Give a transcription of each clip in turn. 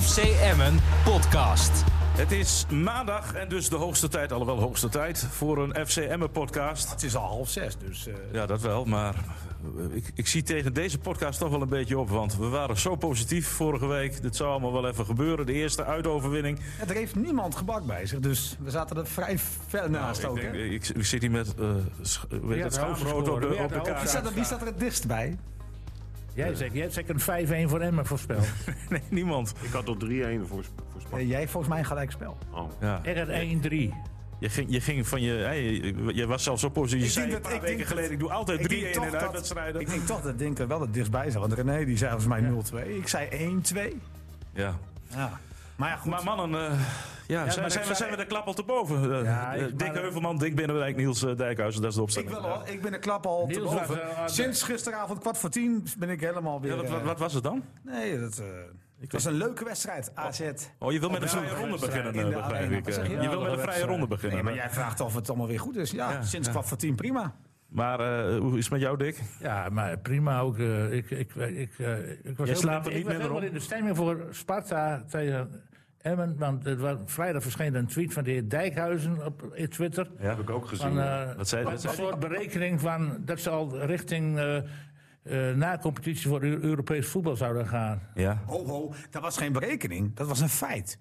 FC Emmen podcast. Het is maandag en dus de hoogste tijd, alhoewel hoogste tijd, voor een FC Emmen podcast. Het is al half zes, dus eh, Ja, dat wel, maar eh, ik, ik zie tegen deze podcast toch wel een beetje op. Want we waren zo positief vorige week. Dit zou allemaal wel even gebeuren. De eerste uitoverwinning. er heeft niemand gebak bij zich, dus we zaten er vrij ver naast Nou, ik, ook. denk- hè? ik, ik zit hier met eh sch- weet je, had het de schaamrood op hoofdscorer, de, weer op de de Wie kaart. staat, er, wie staat er het dichtst bij? Jij zegt, jij hebt zeker een 5-1 voor Emmen voorspeld. Nee, niemand. Ik had tot 3-1 voor, Eh, jij hebt volgens mij een gelijkspel. Oh. Ja. Er 1-3. Je, ging, je ging van je... Hey, je- je was zelfs zo positief. Je Ik zei denk een dat- paar ik denk weken geleden, ik doe altijd 3-1 denk in toch de dat- uitwedstrijden. Ik denk toch dat Dinker wel het dichtstbij zat, want René die zei volgens mij 0-2. Ik zei 1-2. Ja. Ja. Maar ja, goed. Maar mannen, eh, ja, zijn, maar zijn, ik we, zei- zijn we de klap al te boven? Eh, Ja, ik- eh, maar Dick dat- Heuvelman, Dick Binnenwijk, Niels eh, Dijkhuizen, dat is de ik, opstelling. wil al, ik ben de klap al te Niels boven. was, eh, aan de- Sinds gisteravond kwart voor tien ben ik helemaal weer... Ja, wat, wat, eh, wat was het dan? Nee, dat eh, het was een leuke wedstrijd, AZ. Oh, je wil met een Op de vrije ronde wedstrijd beginnen, in de eh, begrijp arena. ik. Wat zeg eh. je? Je wil met een vrije wedstrijd. ronde Nee, beginnen. maar jij vraagt of het allemaal weer goed is. Ja, Ja, sinds ja. kwart voor tien prima. Maar eh, hoe is het met jou, Dick? Ja, maar prima ook. eh, ik, ik, ik, eh, ik was, slaapt er ik niet minder was helemaal om? in de stemming voor Sparta tegen Emmen. Want het was, vrijdag verscheen een tweet van de heer Dijkhuizen op eh, Twitter. Ja. Heb ik ook gezien. Van, eh, Wat zei- van wat een zei- soort berekening van dat ze al richting eh, eh, na competitie voor Eu- Europees voetbal zouden gaan. Ja, Ho, ho, dat was geen berekening, dat was een feit.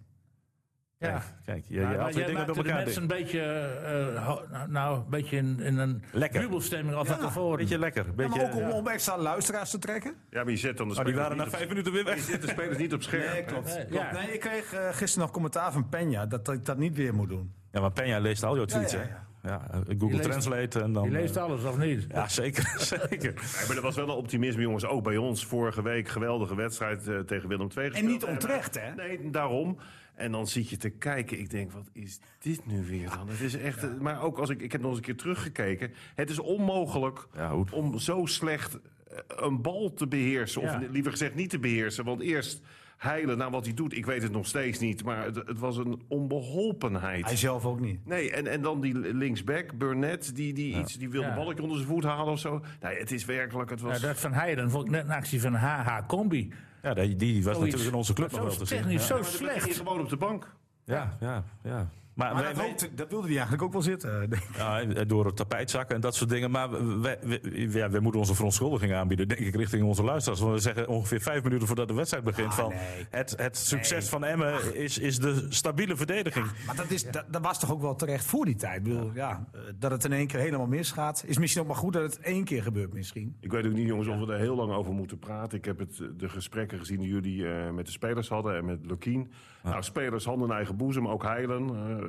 Ja. kijk, je, je Ja, haalt maar weer jij dingen door maakte de elkaar, mensen Dick. een beetje, eh, ho- nou, een beetje in, in een Lekker. jubelstemming al van Ja, tevoren. Beetje lekker. Ja, Beetje, maar ook om, ja. om extra luisteraars te trekken? Ja, maar je zet dan de Oh, die spelers waren na niet op- vijf minuten weer Je weg. zet de spelers niet op scherp. hè. Nee, Klopt. ja. Nee, ik kreeg eh, gisteren nog commentaar van Penja dat ik dat niet weer moet doen. Ja, maar Penja leest al jouw tweets, Ja, hè? ja, Ja, eh, Google leest- Translate en dan... Je leest eh, alles, of niet? Ja, zeker, zeker. Nee, maar er was wel een optimisme, jongens. Ook bij ons vorige week geweldige wedstrijd eh, tegen Willem II. gespeeld. niet onterecht, hè? Nee, daarom. En dan zit je te kijken. Ik denk, wat is dit nu weer dan? Het is echt. eh, Maar ook als ik, ik heb nog eens een keer teruggekeken. Het is onmogelijk Ja, hoe- om zo slecht eh, een bal te beheersen. Ja. Of liever gezegd niet te beheersen. Want eerst heilen naar wat hij doet. Ik weet het nog steeds niet. Maar het, het was een onbeholpenheid. Hij zelf ook niet. Nee, en, en dan die linksback, Burnett, die, die, iets, die wil Ja. de balletje onder zijn voet halen of zo. Nee, het is werkelijk, het Ja, was... dat van Heijden vond ik net een actie van HH Combi. Ja, die, die was Zoiets. natuurlijk in onze club Zo nog wel te zien. ja. Technisch zo Maar dan lig je slecht. gewoon op de bank. Ja, ja, ja. Maar, Maar wij- dat, wij- hoopte- dat wilde hij eigenlijk ook wel zitten. eh, Ja, door het tapijt zakken en dat soort dingen. Maar wij, wij- ja, wij moeten onze verontschuldiging aanbieden, denk ik, richting onze luisteraars. Want we zeggen ongeveer vijf minuten voordat de wedstrijd begint: Ah, van nee. het, het succes van Emmen is, is de stabiele verdediging. Maar dat, is, dat, dat was toch ook wel terecht voor die tijd. Ik bedoel, ja. eh, dat het in één keer helemaal misgaat. Is misschien ook maar goed dat het één keer gebeurt misschien. Ik weet ook niet, jongens, of we er heel lang over moeten praten. Ik heb het, eh, de gesprekken gezien die jullie eh, met de spelers hadden en met Lukien. Nou, spelers handen in eigen boezem, ook heilen. Eh,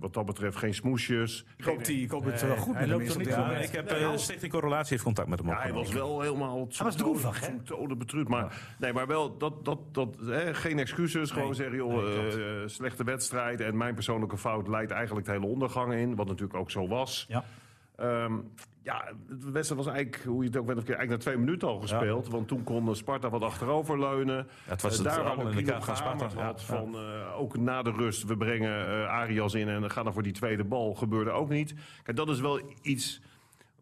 wat dat betreft geen smoesjes. Ik hoop, die, ik hoop het wel goed hij met hem loopt is toch op niet dit zo Ja, moment. ik heb eh, Stichting Correlatie heeft contact met hem Ja, hij opgenomen. was wel helemaal... Hij was droevig, hè? Tode betruurd, maar... Nee, maar wel, dat, dat, dat, hè, geen excuses. Gewoon zeggen, joh, eh, slechte wedstrijd. En mijn persoonlijke fout leidt eigenlijk de hele ondergang in. Wat natuurlijk ook zo was. Ja. Ehm, ja, de wedstrijd was eigenlijk, hoe je het ook bent, eigenlijk na twee minuten al gespeeld. Want toen kon eh, Sparta wat achteroverleunen. het was Eh, het Daar allemaal hadden in we de kaart Kino van gehamerd Sparta, had ja, ja. van eh, ook na de rust, we brengen eh, Arias in en gaan dan voor die tweede bal. Gebeurde ook niet. Kijk, dat is wel iets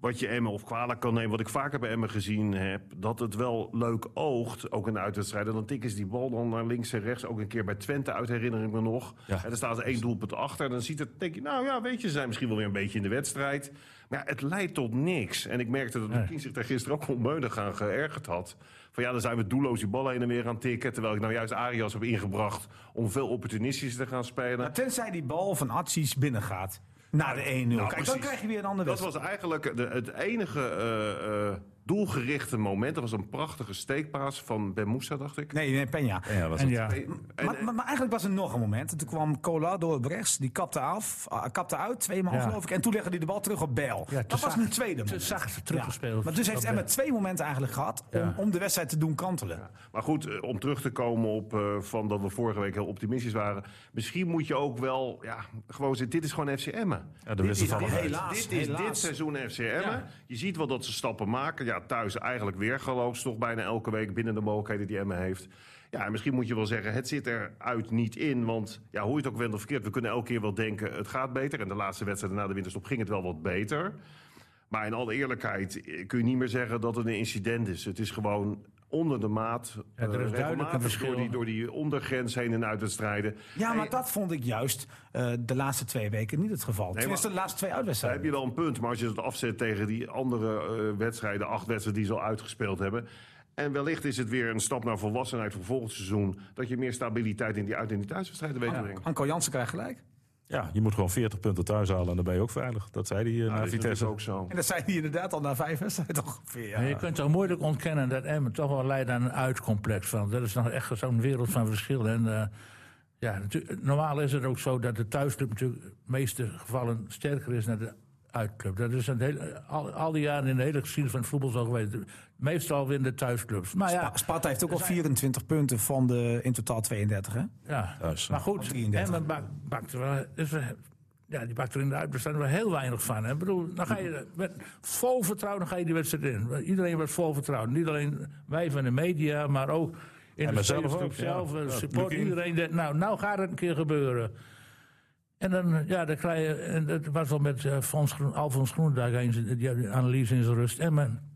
wat je Emmen of kwalijk kan nemen. Wat ik vaker bij Emmen gezien heb, dat het wel leuk oogt, ook in de uitwedstrijden. Dan tikken ze die bal dan naar links en rechts. Ook een keer bij Twente uit, herinner ik me nog. Ja. En dan staat er één doelpunt achter. En dan ziet het, denk je, nou ja, weet je, ze zijn misschien wel weer een beetje in de wedstrijd. Maar ja, het leidt tot niks. En ik merkte dat Lukien zich daar gisteren ook onmeunig aan geërgerd had. Van ja, dan zijn we doelloos die bal heen en weer aan tikken. Terwijl ik nou juist Arias heb ingebracht om veel opportunistisch te gaan spelen. Maar tenzij die bal van Atsies binnengaat. Na de 1-0. Kijk, dan precies. krijg je weer een andere Dat wedstrijd. was eigenlijk de- het enige eh, eh, doelgerichte moment. Dat was een prachtige steekpaas van Ben Moussa, dacht ik. Nee, nee, Penja. Ja, was En het. ja, En- Maar, maar, maar eigenlijk was er nog een moment. Toen kwam Cola door rechts, die kapte, af, ah, kapte uit, tweemaal Ja. geloof ik. En toen legde hij de bal terug op Bijl. Ja, te dat was zacht. een tweede te moment. zacht Ja. teruggespeeld. Maar dus heeft Dat- Emma twee momenten eigenlijk gehad om, Ja. om de wedstrijd te doen kantelen. Maar goed, eh, om terug te komen op eh, van dat we vorige week heel optimistisch waren. Misschien moet je ook wel ja, gewoon zeggen, dit is gewoon FC Emmen. Ja, de wissel van dit- Manuel. helaas, dit is helaas. dit seizoen FC Emmen. Je ziet wel dat ze stappen maken. Ja, thuis eigenlijk weer geloofs. Toch bijna elke week binnen de mogelijkheden die Emmen heeft. Ja, en misschien moet je wel zeggen, het zit eruit niet in. Want ja, hoe je het ook wendt of verkeerd, we kunnen elke keer wel denken, het gaat beter. En de laatste wedstrijd na de winterstop ging het wel wat beter. Maar in alle eerlijkheid eh, kun je niet meer zeggen dat het een incident is. Het is gewoon onder de er maat. is eh, duidelijk een regelmatig verschil. Door die, door die ondergrens heen en uit te strijden. Ja, maar Hey, dat vond ik juist eh, de laatste twee weken niet het geval. Nee, Tenminste, de laatste twee Daar heb uitwedstrijden. je wel een punt. Maar als je het afzet tegen die andere eh, wedstrijden, acht wedstrijden die ze al uitgespeeld hebben. En wellicht is het weer een stap naar volwassenheid voor volgend seizoen. Dat je meer stabiliteit in die uit- en die thuiswedstrijden weet te brengen. Anko Jansen krijgt gelijk. Ja, je moet gewoon 40 punten thuis halen en dan ben je ook veilig. Dat zei hij eh, Ja, na dat is natuurlijk Vitesse. ook zo. En dat zijn die inderdaad al na vijf wedstrijden ongeveer. Ja. Maar je kunt toch moeilijk ontkennen dat Emmen toch wel leidt aan een uitcomplex. Van. Dat is nog echt zo'n wereld van verschil. En, eh, ja, natu- normaal is het ook zo dat de thuisclub natuurlijk in de meeste gevallen sterker is dan de uitclub. Dat is een hele, al, al die jaren in de hele geschiedenis van het voetbal zo geweest. Meestal winnen de thuisclubs. Maar ja, Spa- Sparta heeft ook al er zijn- 24 punten van de in totaal 32. Hè? Ja, Thuis, eh, maar Op goed, 33. Emmen bak, bakt er wel... Dus we- ja, die bakt er in de uitbesteding wel heel weinig van. Hè. Ik bedoel, dan ga je met vol vertrouwen dan ga je die wedstrijd in. Iedereen wordt vol vertrouwen. Niet alleen wij van de media, maar ook in de maar zelf spelersgroep ook, ja. zelf. eh, Ja, support Lukien. iedereen. denkt, nou, nou gaat het een keer gebeuren. En dan, eh, ja, dan krijg je... En dat was wel met eh, Fons Groen, Alfons Groenendijk eens, die had die analyse in zijn rust. Emmen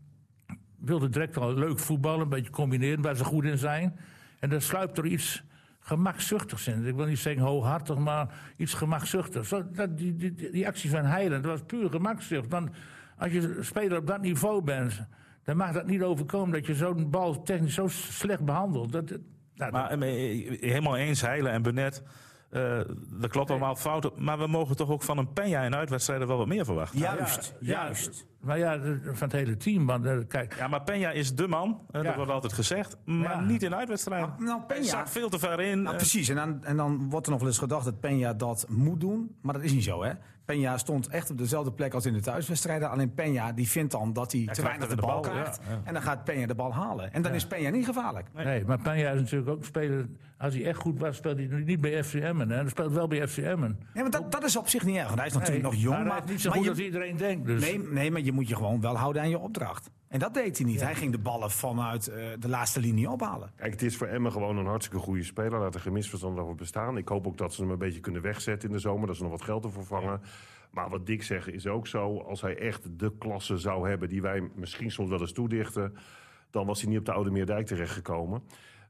wilde direct al leuk voetballen, een beetje combineren waar ze goed in zijn. En dan sluipt er iets gemakzuchtigs in. Ik wil niet zeggen hooghartig, maar iets gemakzuchtigs. Zo, dat, die, die, die- die actie van Heiland, dat was puur gemakzucht. Want als je speler op dat niveau bent, dan mag dat niet overkomen dat je zo'n bal technisch zo slecht behandelt. Dat, dat- nou, Maar eh, eh, helemaal eens, Heilen en Benet. eh dat klopt allemaal fouten. Maar we mogen toch ook van een Penja in uitwedstrijden wel wat meer verwachten. Juist, ja, juist. maar ja, van het hele team. Want, eh, kijk, Ja, maar Penja is de man. eh, Ja. Dat wordt altijd gezegd. Maar Ja. niet in uitwedstrijden. Nou, Peña- Hij zakt veel te ver in. Nou, eh, precies. En dan, en dan wordt er nog wel eens gedacht dat Peña dat moet doen. Maar dat is niet zo, hè? Peña stond echt op dezelfde plek als in de thuiswedstrijden. Alleen Peña die vindt dan dat hij te krijgt weinig de, er de bal, bal, krijgt. ja, ja. En dan gaat Peña de bal halen. En dan is Peña niet gevaarlijk. Nee, maar Panja is natuurlijk ook een speler. Als hij echt goed was, speelt hij nu niet bij FC Emmen. Hij speelt wel bij FC Emmen. Nee, maar dat, dat is op zich niet erg. Want hij is natuurlijk nog jong. Maar, hij is niet zo maar goed je- als iedereen denkt. Dus. nee, nee, maar je moet je gewoon wel houden aan je opdracht. En dat deed hij niet. Hij ging de ballen vanuit eh, de laatste linie ophalen. Kijk, het is voor Emmen gewoon een hartstikke goede speler. Laat er geen misverstand over bestaan. Ik hoop ook dat ze hem een beetje kunnen wegzetten in de zomer. Dat ze nog wat geld ervoor vangen. Maar wat Dick zegt is ook zo. Als hij echt de klasse zou hebben die wij misschien soms wel eens toedichten... dan was hij niet op de Oude Meerdijk terechtgekomen.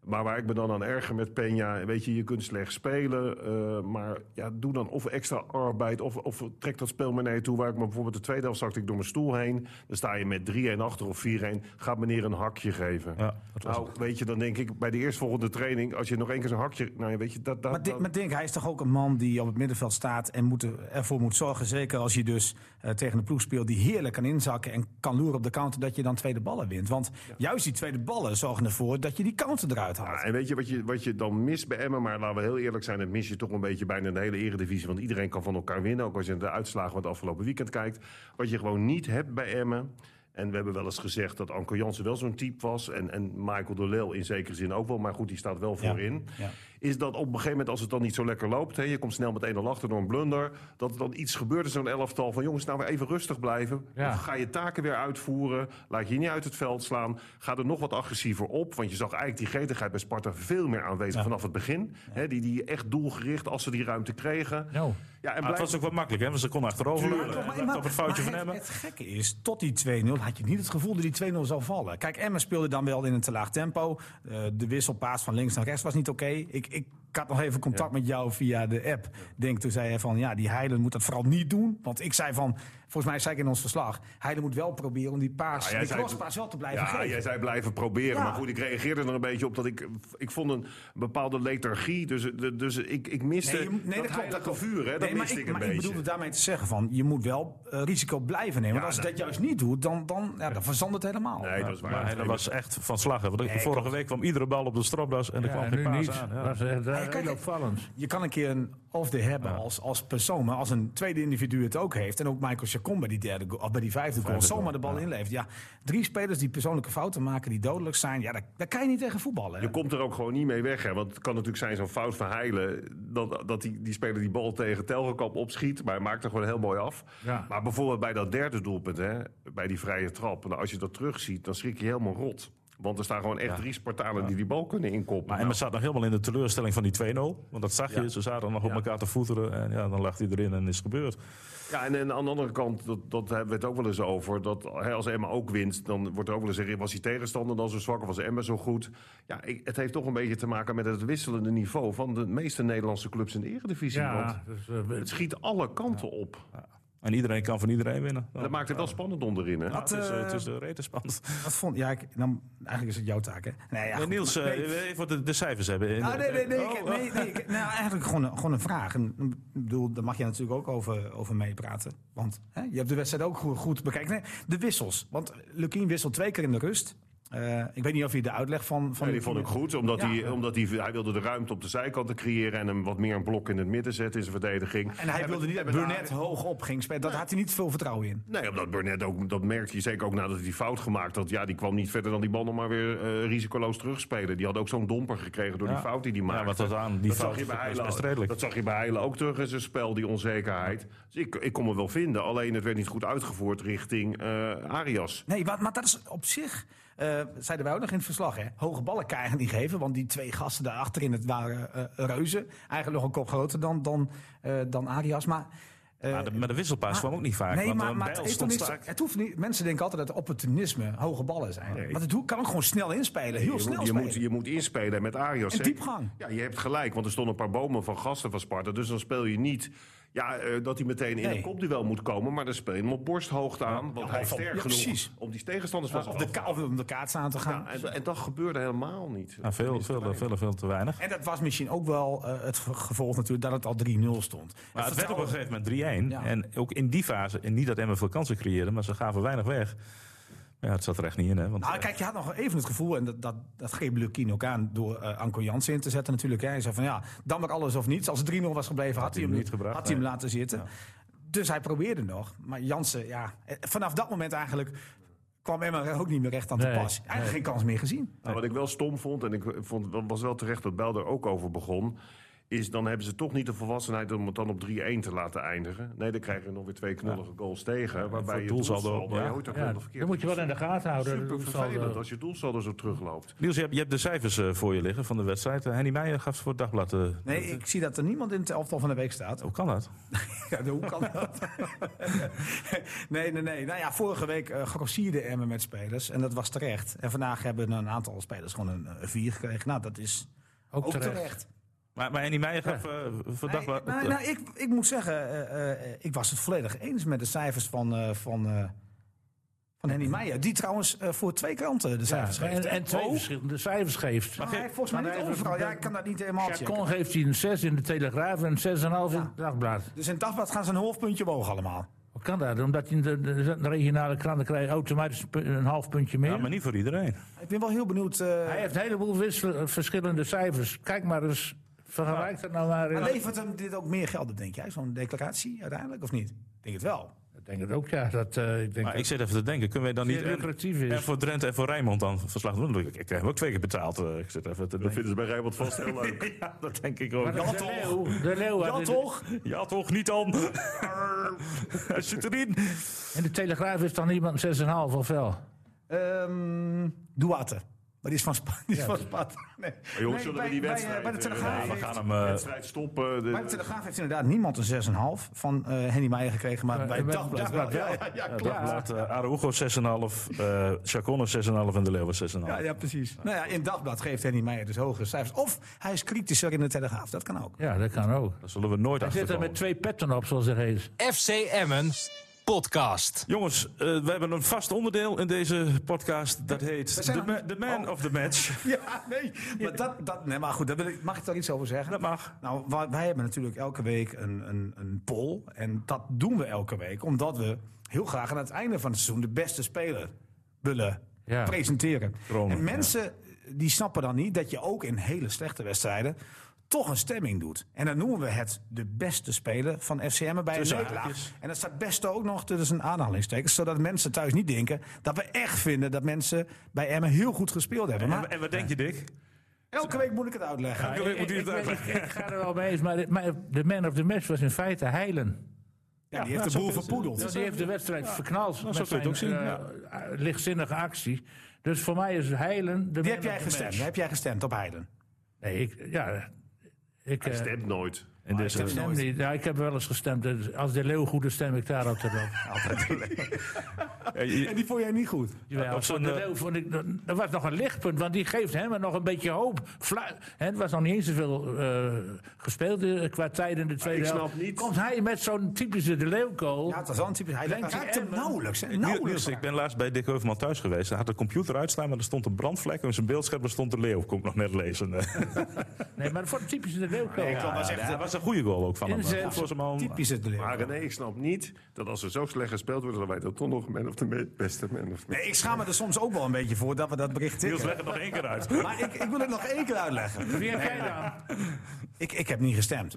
Maar waar ik me dan aan erger met Peña... weet je, je kunt slecht spelen... eh, maar ja, doe dan of extra arbeid... Of, of trek dat spel maar naar je toe. Waar ik me bijvoorbeeld de tweede helft zakte ik door mijn stoel heen. Dan sta je met 3-1 achter of 4-1. Gaat meneer een hakje geven. Ja, dat was Ah, nou, weet je, dan denk ik bij de eerstvolgende training, als je nog één keer zo'n hakje. Nou, ja, weet je, dat. dat Maar, Di- dat- maar denk, hij is toch ook een man die op het middenveld staat en moet er- ervoor moet zorgen. Zeker als je dus eh, tegen een ploeg speelt die heerlijk kan inzakken en kan loeren op de counter, dat je dan tweede ballen wint. Want juist die tweede ballen zorgen ervoor dat je die counter eruit haalt. Ja, en weet je wat, je wat je dan mist bij Emmen? Maar laten we heel eerlijk zijn, dat mis je toch een beetje bijna de hele eredivisie. Want iedereen kan van elkaar winnen. Ook als je naar de uitslagen van het afgelopen weekend kijkt. Wat je gewoon niet hebt bij Emmen. En we hebben wel eens gezegd dat Anko Jansen wel zo'n type was. En, en Michael de Leeuw in zekere zin ook wel. Maar goed, die staat wel voorin. ja. Is dat op een gegeven moment, als het dan niet zo lekker loopt... Hè, je komt snel met 1-0 achter door een blunder... dat er dan iets gebeurt in zo'n elftal van... jongens, nou weer even rustig blijven. Ja. Of ga je taken weer uitvoeren. Laat je niet uit het veld slaan. Ga er nog wat agressiever op. Want je zag eigenlijk die gretigheid bij Sparta veel meer aanwezig vanaf het begin. Hè, die, die echt doelgericht, als ze die ruimte kregen. Nou. maar Ja, en het blijf- was ook wel makkelijk, hè? Want ze konden achterover Maar- leuren. maar- En maar- op het foutje maar van het- Emmen. Het gekke is, tot die 2-0 had je niet het gevoel dat die 2-0 zou vallen. Kijk, Emmen speelde dan wel in een te laag tempo. Eh, de wisselpaas van links naar rechts was niet oké. Ik, ik, ik had nog even contact met jou via de app. Denk, toen zei hij van, ja, die Heilen moet dat vooral niet doen. Want ik zei van, volgens mij zei ik in ons verslag... Heilen moet wel proberen om die paas, Ja, jij die zei- crosspaas wel te blijven Ja, geven. jij zei blijven proberen. Ja. Maar goed, ik reageerde er een beetje op dat ik... Ik vond een bepaalde lethargie. Dus, dus ik, ik miste je moet- dat heilige vuur. Hè, dat Nee, maar miste ik, ik, een maar ik beetje. bedoelde daarmee te zeggen van... je moet wel eh, risico blijven nemen. Ja, want als je dat- dat juist niet doet, dan, dan, ja, dan verzandert het helemaal. Nee, dat is waar. Maar hij- dat was echt van slag. hè, Want vorige week kwam iedere bal op de stropdas en er Ja, kwam nu geen paas niet. aan. ja. Dat is echt eh, kijk, heel opvallend. Je kan een keer een off-day hebben als, als persoon, maar als een tweede individu het ook heeft. En ook Michael Chacon bij die, derde goal, of bij die vijfde goal Vijfde zomaar goal, de bal inlevert. Ja, drie spelers die persoonlijke fouten maken, die dodelijk zijn. Ja, daar, daar kan je niet tegen voetballen. hè? Je komt er ook gewoon niet mee weg. Hè? Want het kan natuurlijk zijn, zo'n fout van Heilen... dat, dat die, die speler die bal tegen Telgekamp opschiet... maar hij maakt er gewoon heel mooi af. Ja. Maar bijvoorbeeld bij dat derde doelpunt, hè? bij die vrije trap... Nou, als je dat terugziet, dan schrik je helemaal rot. Want er staan gewoon echt Ja. drie Spartanen die die bal kunnen inkoppen. Nou, Maar Emmen staat nog helemaal in de teleurstelling van die 2-0. Want dat zag je, ze zaten nog op elkaar te voeteren. En ja, dan lag hij erin en is het gebeurd. Ja, en, en aan de andere kant, dat, dat hebben we het ook wel eens over. Dat hè, als Emma ook wint, dan wordt er ook wel eens gezegd... was die tegenstander dan zo zwak of was Emma zo goed? Ja, ik- het heeft toch een beetje te maken met het wisselende niveau... van de meeste Nederlandse clubs in de eredivisie. Want Ja, dus, eh, het schiet alle kanten op. En iedereen kan van iedereen winnen. En dat maakt het wel spannend onderin, hè? Ja, het is, eh, eh, het is eh, rete spannend. Wat vond... Ja, ik, dan, eigenlijk is het jouw taak, hè? Nee, ja, Eh, goed, Niels, maar- eh, nee. even wat de, de cijfers hebben. Nou, nee, nee, nee. Oh, ik- nee, nee, ik- nou, eigenlijk gewoon een, gewoon een vraag. En, ik bedoel, daar mag je natuurlijk ook over, over meepraten. Want hè, je hebt de wedstrijd ook goed, goed bekeken. Nee, de wissels. Want Lukien wisselt twee keer in de rust. Eh, ik weet niet of je de uitleg van... van Ja, die vond ik goed, omdat, Ja. hij, omdat hij, hij wilde de ruimte op de zijkanten creëren... en hem wat meer een blok in het midden zetten in zijn verdediging. En hij wilde niet dat Burnett hoog op ging spelen. Daar had hij niet veel vertrouwen in. Nee, omdat Burnett ook, dat merkte je zeker ook nadat hij die fout gemaakt had. Ja, die kwam niet verder dan die bal nog maar weer eh, risicoloos terugspelen. Die had ook zo'n domper gekregen door die Ja. fout die hij Ja, maakte. want dat aan, die dat fout zag je bij is Heijlen- best redelijk. Dat zag je bij Heijlen ook terug in zijn spel, die onzekerheid. Dus ik, ik kon me wel vinden, alleen het werd niet goed uitgevoerd richting eh, Arias. Nee, maar, maar dat is op zich, eh, zeiden wij ook nog in het verslag, hè? hoge ballen krijgen die geven. Want die twee gasten daar achterin, het waren eh, reuzen. Eigenlijk nog een kop groter dan, dan, eh, dan Arias. Maar, eh, Maar de, maar de wisselpaas kwam ook niet vaak. Nee, want maar, eh, maar het, Bijl heeft toch stond niks- sterk. het hoeft niet. Mensen denken altijd dat opportunisme hoge ballen zijn. Maar het ho- kan ook gewoon snel inspelen. Heel je, snel moet, je, spelen. moet, je moet inspelen met Arias. En hè. diepgang. Ja, je hebt gelijk, want er stonden een paar bomen van gasten van Sparta. Dus dan speel je niet ja, eh, dat hij meteen in Nee. een kopduel moet komen. Maar dan speel je hem op borsthoogte aan. Want hij is of op- sterk ja, genoeg precies. om die tegenstanders van Ja, zich of, de af te ka- of om de kaarts aan te gaan. Ja, en, en dat gebeurde helemaal niet. Ja, Nou, veel, veel, veel, veel, veel te weinig. En dat was misschien ook wel eh, het ge- gevolg natuurlijk dat het al 3-0 stond. Maar het werd op een gegeven moment 3-1. Ja. En ook in die fase, en niet dat Emmen veel kansen creëerde, maar ze gaven weinig weg. Maar ja, het zat er echt niet in, hè? Want, Nou, kijk, je had nog even het gevoel, en dat, dat, dat greep Lukien ook aan door eh Anko Jansen in te zetten natuurlijk. Hè. Hij zei van ja, dan maar alles of niets. Als het 3-0 was gebleven, had, hij hem, niet gebracht, had hij hem nee. laten zitten. Dus hij probeerde nog. Maar Jansen, ja, eh, vanaf dat moment eigenlijk kwam Emma er ook niet meer recht aan te Nee, pas. Eigenlijk geen kans meer gezien. Nou, wat ik wel stom vond, en ik vond, was wel terecht dat Bel er ook over begon... is dan hebben ze toch niet de volwassenheid om het dan op 3-1 te laten eindigen. Nee, dan krijgen we nog weer twee knullige goals tegen. voor Waarbij je doelsaldo, doelsaldo... ja. Je houdt ook ja, wel dat verkeerd. moet je wel in de gaten houden. Super Dat zal, eh, vervelend als je doelsaldo zo terugloopt. Niels, je hebt, je hebt de cijfers eh, voor je liggen van de wedstrijd. Eh, Henny Meijer gaf ze voor het dagblad. eh, Nee, ik zie dat er niemand in het elftal van de week staat. Hoe kan dat? Ja, hoe kan dat? nee, nee, nee. Nou ja, vorige week eh grossierde Emmen met spelers. En dat was terecht. En vandaag hebben een aantal spelers gewoon een eh, vier gekregen. Nou, dat is ook, Ook terecht. terecht. Maar, maar Henny Meijer gaf eh, voor het Nee, dagblad. nou, nou, ik, ik moet zeggen, eh, eh, eh, ik was het volledig eens met de cijfers van, eh, van, eh, van Henny Meijer. Die trouwens eh, voor twee kranten de cijfers Ja, geeft. en, hè? en twee Oh, verschillende cijfers geeft. maar hij heeft volgens mij Maar niet even- overal. Ja, ik kan dat niet helemaal checken. Chacon geeft hij een 6 in de Telegraaf en een 6,5 in het Dagblad. Dus in het dagblad gaan ze een half puntje omhoog allemaal. Hoe kan dat? Omdat in de, de, de regionale kranten krijg je automatisch een pu- een half puntje meer. nou- Ja, maar niet voor iedereen. Ik ben wel heel benieuwd. eh, Hij heeft een heleboel wissel- verschillende cijfers. Kijk maar eens, vergelijk dat nou maar. in- Maar levert hem dit ook meer geld op, denk jij, zo'n declaratie uiteindelijk, of niet? Ik denk het wel. Ik denk het ook, ja. Dat, eh, ik denk Maar ik dat zit even te denken, kunnen wij dan niet... het lucratief en is. voor Drenthe en voor Rijnmond dan verslag doen? Ik krijg hem ook twee keer betaald. eh, Ik zit even te Dat denken. vinden ze bij Rijnmond vast heel leuk. Ja, dat denk ik ook. Maar Ja, de Leeuw, de Leeuw had in de- Ja, toch? Niet dan. Hij zit erin. In de Telegraaf is dan iemand een 6,5 of wel? Ehm Duarte. Maar die is van Spa- die is Ja, van dat- Spa- Nee. Maar jongens, zullen we bij- die bij, eh, wedstrijd... bij de eh, Telegraaf nee, We heeft- gaan hem... eh, wedstrijd stoppen. De- bij de Telegraaf heeft inderdaad niemand een 6,5 van eh Henny Meijer gekregen, maar Eh, bij het bij dagblad, Dagblad wel. wel. Ja, ja, ja, Het klopt. dagblad eh, Araujo 6,5, eh Chacon een 6,5 en De Leeuw een 6,5. Ja, ja, precies. Nou ja, in het dagblad geeft Henny Meijer dus hogere cijfers. Of hij is kritischer in de Telegraaf, dat kan ook. Ja, dat kan ook. Daar zullen we nooit Hij achter zit er met twee petten op, zoals het heet. FC Emmen podcast. Jongens, eh, we hebben een vast onderdeel in deze podcast. Dat heet zijn The, aan- Ma- The Oh. Man of the Match. Ja, nee. Maar, dat, dat, nee, maar goed, dat wil ik, mag ik daar iets over zeggen? Dat mag. Nou, wa- wij hebben natuurlijk elke week een, een, een poll. En dat doen we elke week, omdat we heel graag aan het einde van het seizoen de beste speler willen Ja. presenteren. Dromen, en mensen eh, die snappen dan niet dat je ook in hele slechte wedstrijden toch een stemming doet. En dan noemen we het de beste speler van FCM bij een Tussen nederlaag. haakjes. En dat staat beste ook nog tussen aanhalingstekens... zodat mensen thuis niet denken dat we echt vinden... dat mensen bij Emmen heel goed gespeeld hebben. Maar En, en wat denk je, Dick? Elke week moet ik het uitleggen. Elke week moet hij ik, het ik- uitleggen. ik- ik ga er wel mee eens, maar de, maar de man of the match was in feite Heilen. Ja, die heeft de zo boel kun je- Dus verpoedeld. die heeft de wedstrijd verknald zo met kun je zijn het ook eh, lichtzinnige actie. Dus voor mij is Heilen... De Die man heb jij of the match. gestemd. Heb jij gestemd op Heiden? Nee, ik... Ja, ik Hij eh, stemt nooit. En dus, heb eh, stem nooit. niet. Ja, ik heb wel eens gestemd. Dus Als de leeuw goed is, stem ik daarop te doen. eh, je- En die vond jij niet goed. Jawel, op zo'n, van de eh, Leeuw vond ik, dat, dat was nog een lichtpunt, want die geeft hem nog een beetje hoop. Vla, hè, het was nog niet eens zoveel eh gespeeld eh, qua tijd in de tweede ik snap helft. niet- Komt hij met zo'n typische de Leeuw-goal? Ja, het was wel een typisch. Hij Denk je raakte hem Emmen? nauwelijks. hè, Niels, Nauwelijks. ik ben laatst bij Dick Heuvelman thuis geweest. Hij had de computer uitstaan, maar er stond een brandvlek. En op zijn beeldscherm stond de leeuw. Kom ik nog net lezen. Nee, maar voor een typische de Leeuw-goal. dat was, echt, was een goede goal ook van hem. Inzet. Goed voor zijn man. Typisch het Maar leeuw. René, ik snap niet dat als er zo slecht gespeeld wordt... dat wij dat toch nog man of the match, beste man of the match. Nee, ik schaam me er soms ook wel een beetje voor dat we dat bericht Niels, tikken. leg het nog één keer uit. Maar ik, ik wil het nog één keer uitleggen. Wie heb jij dan? Ik, ik heb niet gestemd.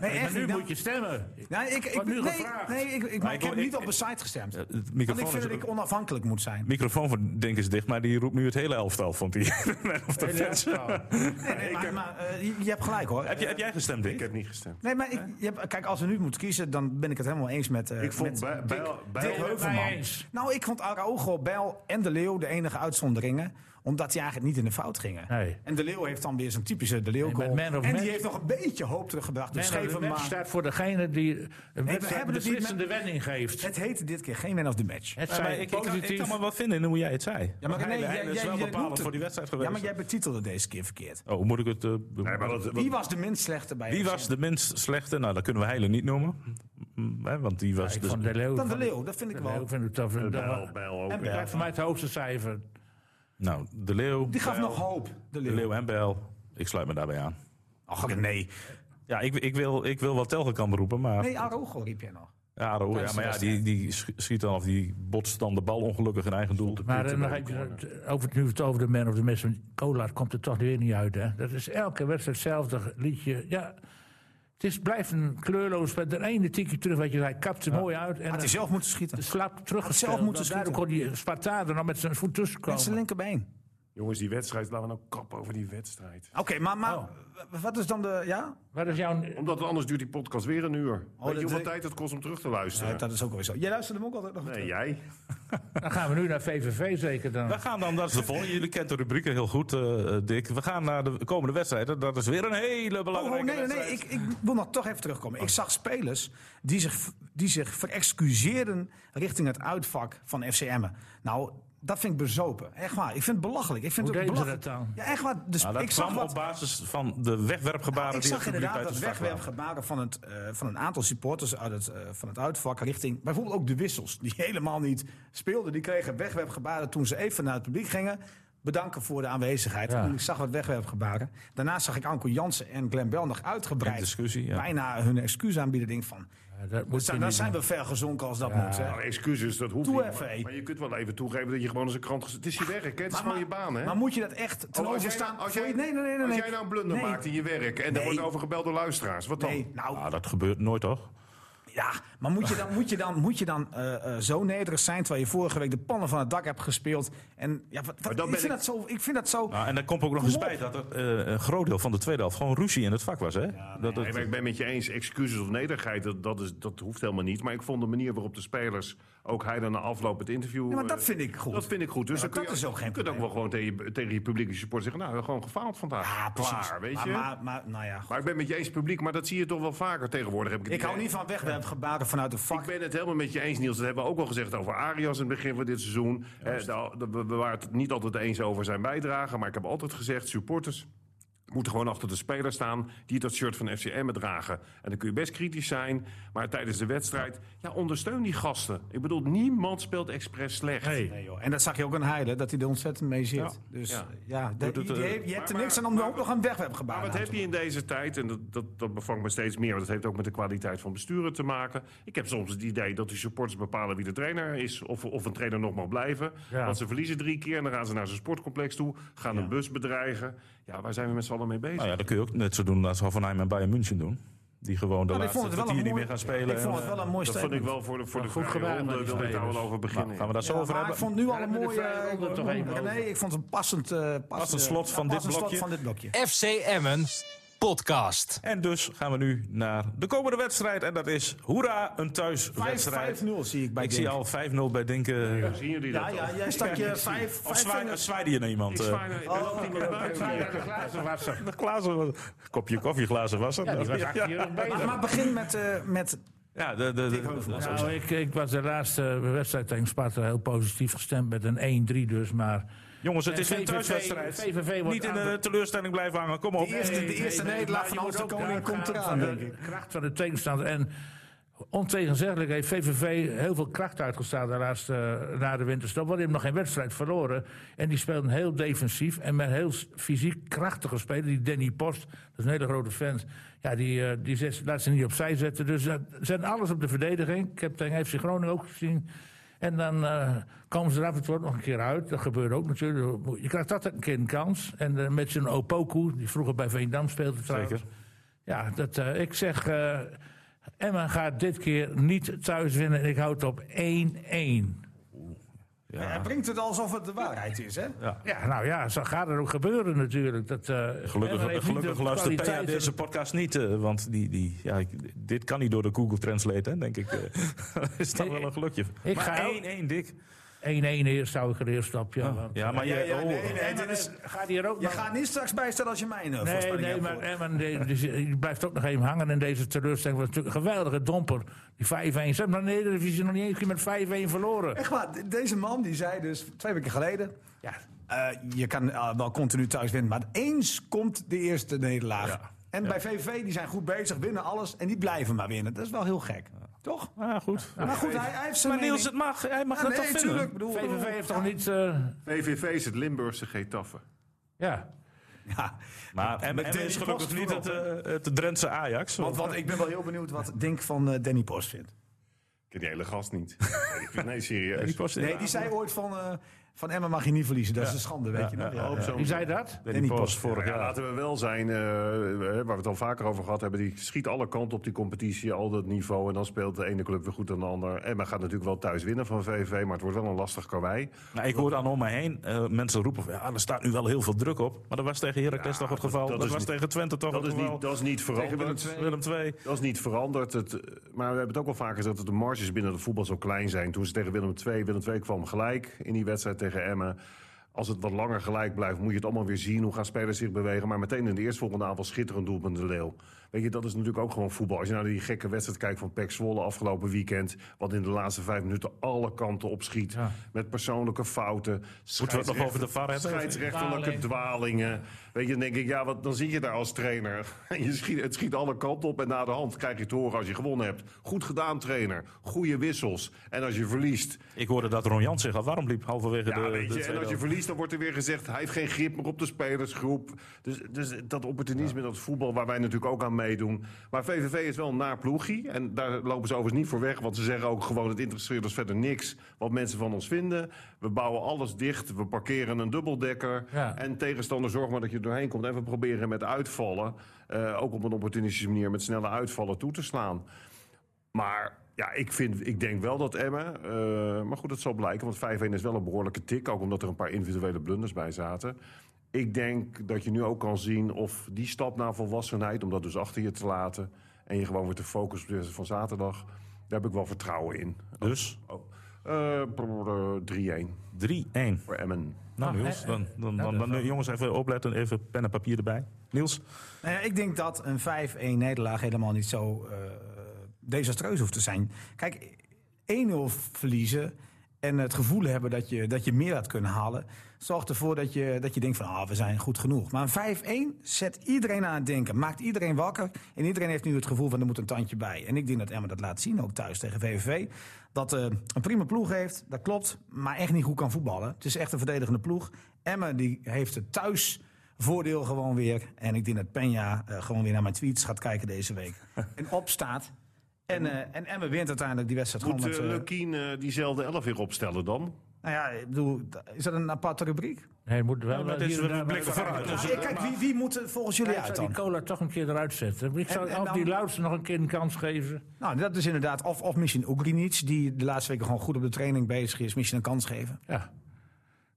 Nee, echt Nu niet. Nou, moet je stemmen. nee, ik, ik, Wordt nu nee, gevraagd. nee, ik, ik, maar ik ik heb wil- niet ik- op een site gestemd. Want Het ik microfoon, vind is, dat ik onafhankelijk moet zijn. microfoon van Denk is dicht, maar die roept nu het hele elftal, vond hij. Man of the Hele match. elftal. Nee, nee, maar, maar, eh, je, je hebt gelijk hoor. Heb, je, heb jij gestemd, Eh, Dick? Ik heb niet gestemd. Nee, maar ik, je hebt- kijk, als we nu moeten kiezen, dan ben ik het helemaal eens met. eh, Ik vond met bij, bij, bij- Dick ben het Heuvelman. mee eens. Nou, ik vond Araujo, Bijl en De Leeuw de enige uitzonderingen. Omdat die eigenlijk niet in de fout gingen. Nee. En De Leeuw heeft dan weer zo'n typische De Leeuw goal. Nee, maar man of en man- die heeft nog een beetje hoop teruggebracht. Dus Nee, maar geef de hem match maar. staat voor degene die eh, een wedstrijd hebben het niet beslissende met- wending geeft. Het heette dit keer geen man of the match. Het Ja, maar zijn ik, ik, kan, ik positief. kan me wat vinden in hoe jij het zei. Ja, maar Want nee, hij- jij- hij is jij- wel jij bepalend noemt voor die het. wedstrijd Ja, geweest. maar jij betitelde deze keer verkeerd. Oh, moet ik het... eh, nee, maar wat, wat- Wie was de minst slechte bij Wie ons? was de minst slechte? Nou, dat kunnen we Heilen niet noemen. Mm, hè, Want die was... Ik dus- vond de Leeuw. Dan De vond ik- Leeuw, dat vind ik De Leeuw wel. vind ik tof. Bijl, Bijl ook. En Ja. Dat Bijl. is voor mij het hoogste cijfer. Nou, De Leeuw, Die gaf Bijl, nog hoop, De De Leeuw. Leeuw en Bijl. Ik sluit me daarbij aan. Ach, nee. Ja, ik, ik, wil, ik wil wel Telgekamp roepen, maar... Nee, Araujo riep jij nog. Ja, Aro, ja, maar ja, die, die sch- schiet dan of die botst dan de bal ongelukkig in eigen doel. Maar eh, dan heb je het over, nu het over de man of the match. want Kolar komt er toch weer niet uit. Hè? Dat is elke wedstrijd hetzelfde liedje. Ja, het is, blijft een kleurloos. Met de ene tikje terug, wat je zei, kapt er mooi uit. En Had hij dan zelf moeten schieten. slap terug. zelf moeten Daardoor kon schieten. die Spartaan er nog met zijn voet tussen Met zijn komen. linkerbeen. Jongens, die wedstrijd, laten we nou kappen over die wedstrijd. Oké, maar, maar Oh. wat is dan de... Ja? Wat is jouw... Omdat anders duurt die podcast weer een uur. Weet Oh, dat je hoeveel ik- tijd het kost om terug te luisteren? Nee, dat is ook wel zo. Jij luistert hem ook altijd nog Nee, terug. jij. Dan gaan we nu naar VVV zeker dan. We gaan dan, dat is de volgende. Jullie kent de rubrieken heel goed, eh, eh, Dick. We gaan naar de komende wedstrijden. Dat is weer een hele Oh, belangrijke oh, nee, nee, nee, wedstrijd. ik, ik wil nog toch even terugkomen. Oh. Ik zag spelers die zich, die zich verexcuseerden richting het uitvak van FCM. Nou, dat vind ik bezopen. Echt waar. Ik vind het belachelijk. Ik vind Hoe het deden ze belachelijk. dat dan? Ja, echt waar. Dus Nou, dat ik zag kwam wat, op basis van de wegwerpgebaren ik die het zag publiek inderdaad uit dat het vak laten. wegwerpgebaren van, het, eh, van een aantal supporters uit het, eh, van het uitvak richting bijvoorbeeld ook de wissels, die helemaal niet speelden. Die kregen wegwerpgebaren toen ze even naar het publiek gingen. Bedanken voor de aanwezigheid. Ja. En ik zag wat wegwerpgebaren. Daarna zag ik Anko Jansen en Glenn Bell nog uitgebreid. In discussie, ja. Bijna hun excuus aanbieden. Denk van, Ja, dat moet je daar niet zijn doen. we ver gezonken als dat moet. Hè. Nou, excuses, dat hoeft Doe niet. even, maar, hé. maar je kunt wel even toegeven dat je gewoon eens een krant... gez- Het is je werk, hè? Het is Maar- gewoon je maar- baan, hè? Maar moet je dat echt ten Oh, als, jij, overstaan? nou- als, voor jij, je- nee, nee, nee, nee, als nee. jij nou een blunder Nee, maakt in je werk... en daar Nee. wordt over gebeld door luisteraars, wat dan? Nee, nou, Ah, dat gebeurt nooit, toch? Ja, maar moet je dan, moet je dan, moet je dan eh, eh, zo nederig zijn terwijl je vorige week de pannen van het dak hebt gespeeld? En ja, wat, wat- dan ik, ben vind ik- dat zo, ik vind dat zo. Nou, en dan komt ook nog eens bij dat er eh, een groot deel van de tweede helft gewoon ruzie in het vak was. Hè? dat, het- Nee, maar ik ben met je eens, excuses of nederigheid, dat, dat, is, dat hoeft helemaal niet. Maar ik vond de manier waarop de spelers, ook hij dan na afloop het interview... Ja, maar eh, dat vind ik goed. Dat vind ik goed. Dus Ja, dan kun dat je, is ook geen je kunt ook wel gewoon tegen je, tegen je publieke support zeggen... nou, we hebben gewoon gefaald vandaag. Ja, Ah, precies. Klaar, weet maar, je? Maar, Maar, maar, nou ja, goed. ik ben met je eens publiek, maar dat zie je toch wel vaker tegenwoordig. Heb ik het ik hou idee. niet van wegwerpgebaren vanuit de vak. Ik ben het helemaal met je eens, Niels. Dat hebben we ook al gezegd over Arias in het begin van dit seizoen. Eh, daar- daar- we we waren het niet altijd eens over zijn bijdrage. Maar ik heb altijd gezegd, supporters moeten gewoon achter de speler staan... die dat shirt van FCM dragen. En dan kun je best kritisch zijn. Maar tijdens de wedstrijd, ja, ondersteun die gasten. Ik bedoel, niemand speelt expres slecht. Nee, joh. En dat zag je ook aan Heide, dat hij er ontzettend mee zit. Ja. Dus Ja. ja, dat- het, die- die- eh, je hebt er maar- niks aan om maar- ook nog een wegwerpgebaar Maar aan wat te heb je in deze tijd, en dat, dat, dat bevangt me steeds meer... want dat heeft ook met de kwaliteit van besturen te maken. Ik heb soms het idee dat die supporters bepalen wie de trainer is... of, of een trainer nog mag blijven. Ja. Want ze verliezen drie keer en dan gaan ze naar zijn sportcomplex toe... gaan een bus bedreigen. Ja, waar zijn we met z'n allen mee bezig? Nou ja, dat kun je ook net zo doen als Hoffenheim en Bayern München doen. Die gewoon de Nou, ik laatste vond het wel een kwartier niet mooi- meer gaan spelen. Ik vond het wel een mooi dat vond ik statement. wel voor de, voor de goed vrije gedaan ronde, met die wilde ik daar wel spelers. over Nou, beginnen. gaan we daar zo Ja, over maar hebben? ik vond nu al Ja, een met de mooie... vrije ronde eh, toch even nee, ik vond het een passend... eh, passend slot ja, van dit passend slot blokje. van dit blokje. FC Emmen podcast. En dus gaan we nu naar de komende wedstrijd. En dat is, hoera, een 5-0 thuiswedstrijd. zie ik bij Ik Genk. zie al 5-0 bij Denken. Zien jullie dat Ja, ja, al? jij stak je 5 Of zwaai- of zwaaide je naar iemand? Ik eh? zwaai naar- Oh. er loopt iemand buiten hier. glazen was- Kopje koffie, glazen was het. Ja, Maar, maar begin met, eh, met de, de, de- Nou, ik, ik was de laatste wedstrijd tegen Sparta heel positief gestemd met een 1-3 dus, maar... jongens, het is VVV een thuiswedstrijd. VVV wordt Niet in de aange- teleurstelling blijven hangen, kom op. De eerste- Nee, nee, eerste nee, nederlaag maar van je onze moet ook koning uitgaan komt eraan, van de denk ik. kracht van de tegenstander. En ontegenzeggelijk heeft VVV heel veel kracht uitgestaan de laatste, eh, na de winterstop. Want die hebben nog geen wedstrijd verloren. En die speelden heel defensief en met heel s- fysiek krachtige spelers. Die Danny Post, dat is een hele grote vent. Ja, die, eh, die zet, laat ze niet opzij zetten. Dus dat zijn alles op de verdediging. Ik heb tegen FC Groningen ook gezien. En dan eh, komen ze er af en toe ook nog een keer uit. Dat gebeurt ook natuurlijk. Je krijgt altijd een keer een kans. En eh, met zijn Opoku, die vroeger bij Veendam speelde trouwens. Zeker. Ja, dat, eh, ik zeg... eh, Emma gaat dit keer niet thuis winnen. En ik houd op 1-1. Hij brengt het alsof het de waarheid is, hè? Ja, nou ja, zo gaat er ook gebeuren natuurlijk. Dat, eh, Emma heeft Gelukkig, niet gelukkig de luistert Thea kwaliteiten- deze podcast niet, eh, want die, die, ja, ik- dit kan niet door de Google Translate, hè, denk ik. eh. Dat is dan wel een gelukje. Ik Maar ga- 1-1, Dick. 1-1 eerst zou ik er eerst op, ja. want, Ja, maar jij... oh, nee, dit is- eh, gaat hier ook je nog... gaat niet straks bijstellen als je mijn eh, Nee, voorspelling nee, hebt maar gehoord. Emmen die- die- die blijft ook nog even hangen in deze teleurstelling. Het was natuurlijk een geweldige domper. Die 5-1. Ze hebben in de Eredivisie nog niet eens keer met 5-1 verloren. Echt waar, de- deze man die zei dus twee weken geleden... Ja, eh, je kan eh, wel continu thuis winnen, maar eens komt de eerste nederlaag. En bij VVV, die zijn goed bezig, winnen alles en die blijven maar winnen. Dat is wel heel gek, toch? ah, goed. maar goed, hij, hij heeft zijn Maar Niels, het mening. mag. Hij mag Ja, dat nee, toch vinden? tuurlijk, ik bedoel, VVV heeft toch niet... eh, VVV is het Limburgse Getafe. ja. Ja, Maar Emmen Danny is gelukkig Post niet het, voorop, eh, het Drentse Ajax. want, want ik ben wel heel benieuwd wat Dink van eh, Danny Post vindt. Ik ken die hele gast niet. Nee, Ja, serieus. die Post- Nee, die zei ooit van, eh, van Emma mag je niet verliezen, dat is een schande, weet je nog? Ja, Hoop zo. Wie zei dat? Danny Post vorig Ja, jaar. laten we wel zijn, eh, waar we het al vaker over gehad hebben... die schiet alle kanten op die competitie, al dat niveau... en dan speelt de ene club weer goed dan de ander. En men gaat natuurlijk wel thuis winnen van VVV... maar het wordt wel een lastig karwei. Nou, ik hoor dan om me heen eh, mensen roepen: van, ja, er staat nu wel heel veel druk op. Maar dat was tegen Heracles toch het geval. Dat, dat is was niet- tegen Twente toch Dat het is geval. niet, dat is niet tegen Willem veranderd. II. Willem II. Dat is niet veranderd. Het, eh, maar we hebben het ook al vaker gezegd dat de marges binnen de voetbal zo klein zijn. Toen ze tegen Willem II, Willem II kwam gelijk in die wedstrijd tegen Emmen. Als het wat langer gelijk blijft, moet je het allemaal weer zien. Hoe gaan spelers zich bewegen? Maar meteen in de eerstvolgende aanval schitterend doelpunt de Leeuw. Weet je, dat is natuurlijk ook gewoon voetbal. Als je naar die gekke wedstrijd kijkt van Pek Zwolle afgelopen weekend... wat in de laatste vijf minuten alle kanten opschiet. Met persoonlijke fouten. Moeten we het nog over de VAR hebben? Scheidsrechterlijke dwalingen. Weet je, dan denk ik, ja, wat, dan zit je daar als trainer. En je schiet, het schiet alle kanten op en na de hand krijg je te horen als je gewonnen hebt. Goed gedaan, trainer. Goede wissels. En als je verliest, Ik hoorde dat Ron Jans zich al warm liep halverwege ja, de, de weet je, en tweede als je helft. verliest, dan wordt er weer gezegd... hij heeft geen grip meer op de spelersgroep. Dus, dus dat opportunisme, dat voetbal waar wij natuurlijk ook aan meedoen. Maar VVV is wel een naar ploegie. En daar lopen ze overigens niet voor weg. Want ze zeggen ook gewoon, het interesseert ons verder niks... wat mensen van ons vinden. We bouwen alles dicht. We parkeren een dubbeldekker. Ja. En tegenstander, zorg maar dat je er doorheen komt. En we proberen met uitvallen... eh, ook op een opportunistische manier met snelle uitvallen toe te slaan. Maar ja, ik, vind, ik denk wel dat Emma. eh, maar goed, dat zal blijken. Want 5-1 is wel een behoorlijke tik. Ook omdat er een paar individuele blunders bij zaten. Ik denk dat je nu ook kan zien of die stap naar volwassenheid. om dat dus achter je te laten. en je gewoon weer te focussen op de wedstrijd van zaterdag. daar heb ik wel vertrouwen in. Dus Oh, eh, brrr, 3-1 3-1. voor Emmen. Nou, Ah, Niels, eh, dan, dan, dan, dan- jongens, even opletten. Even pen en papier erbij. Niels, Nou ja, ik denk dat een 5-1 nederlaag helemaal niet zo eh, desastreus hoeft te zijn. Kijk, 1-0 verliezen en het gevoel hebben dat je, dat je meer had kunnen halen... zorgt ervoor dat je, dat je denkt van, ah, we zijn goed genoeg. Maar een 5-1 zet iedereen aan het denken, maakt iedereen wakker... en iedereen heeft nu het gevoel van, er moet een tandje bij. En ik denk dat Emma dat laat zien, ook thuis tegen VVV. Dat eh, een prima ploeg heeft, dat klopt, maar echt niet goed kan voetballen. Het is echt een verdedigende ploeg. Emma die heeft het thuis voordeel gewoon weer. En ik denk dat Penja eh, gewoon weer naar mijn tweets gaat kijken deze week. en opstaat. En, eh en Emmen wint uiteindelijk die wedstrijd Moet gewoon uh, met... eh, Leukien eh, diezelfde 11 weer opstellen dan? nou ja, ik bedoel, da- is dat een aparte rubriek? Nee, moet wel... Ja, maar eh, dit is hier en een daar blik bij- vooruit. Dus, Ja, eh, kijk, wie, wie moet er volgens jullie Ik uit zou dan? die cola toch een keer eruit zetten. Ik zou En- en of die dan- Louts nog een keer een kans geven. Nou, dat is inderdaad... Of, of misschien Ogrinic, die de laatste weken gewoon goed op de training bezig is. Misschien een kans geven. Ja.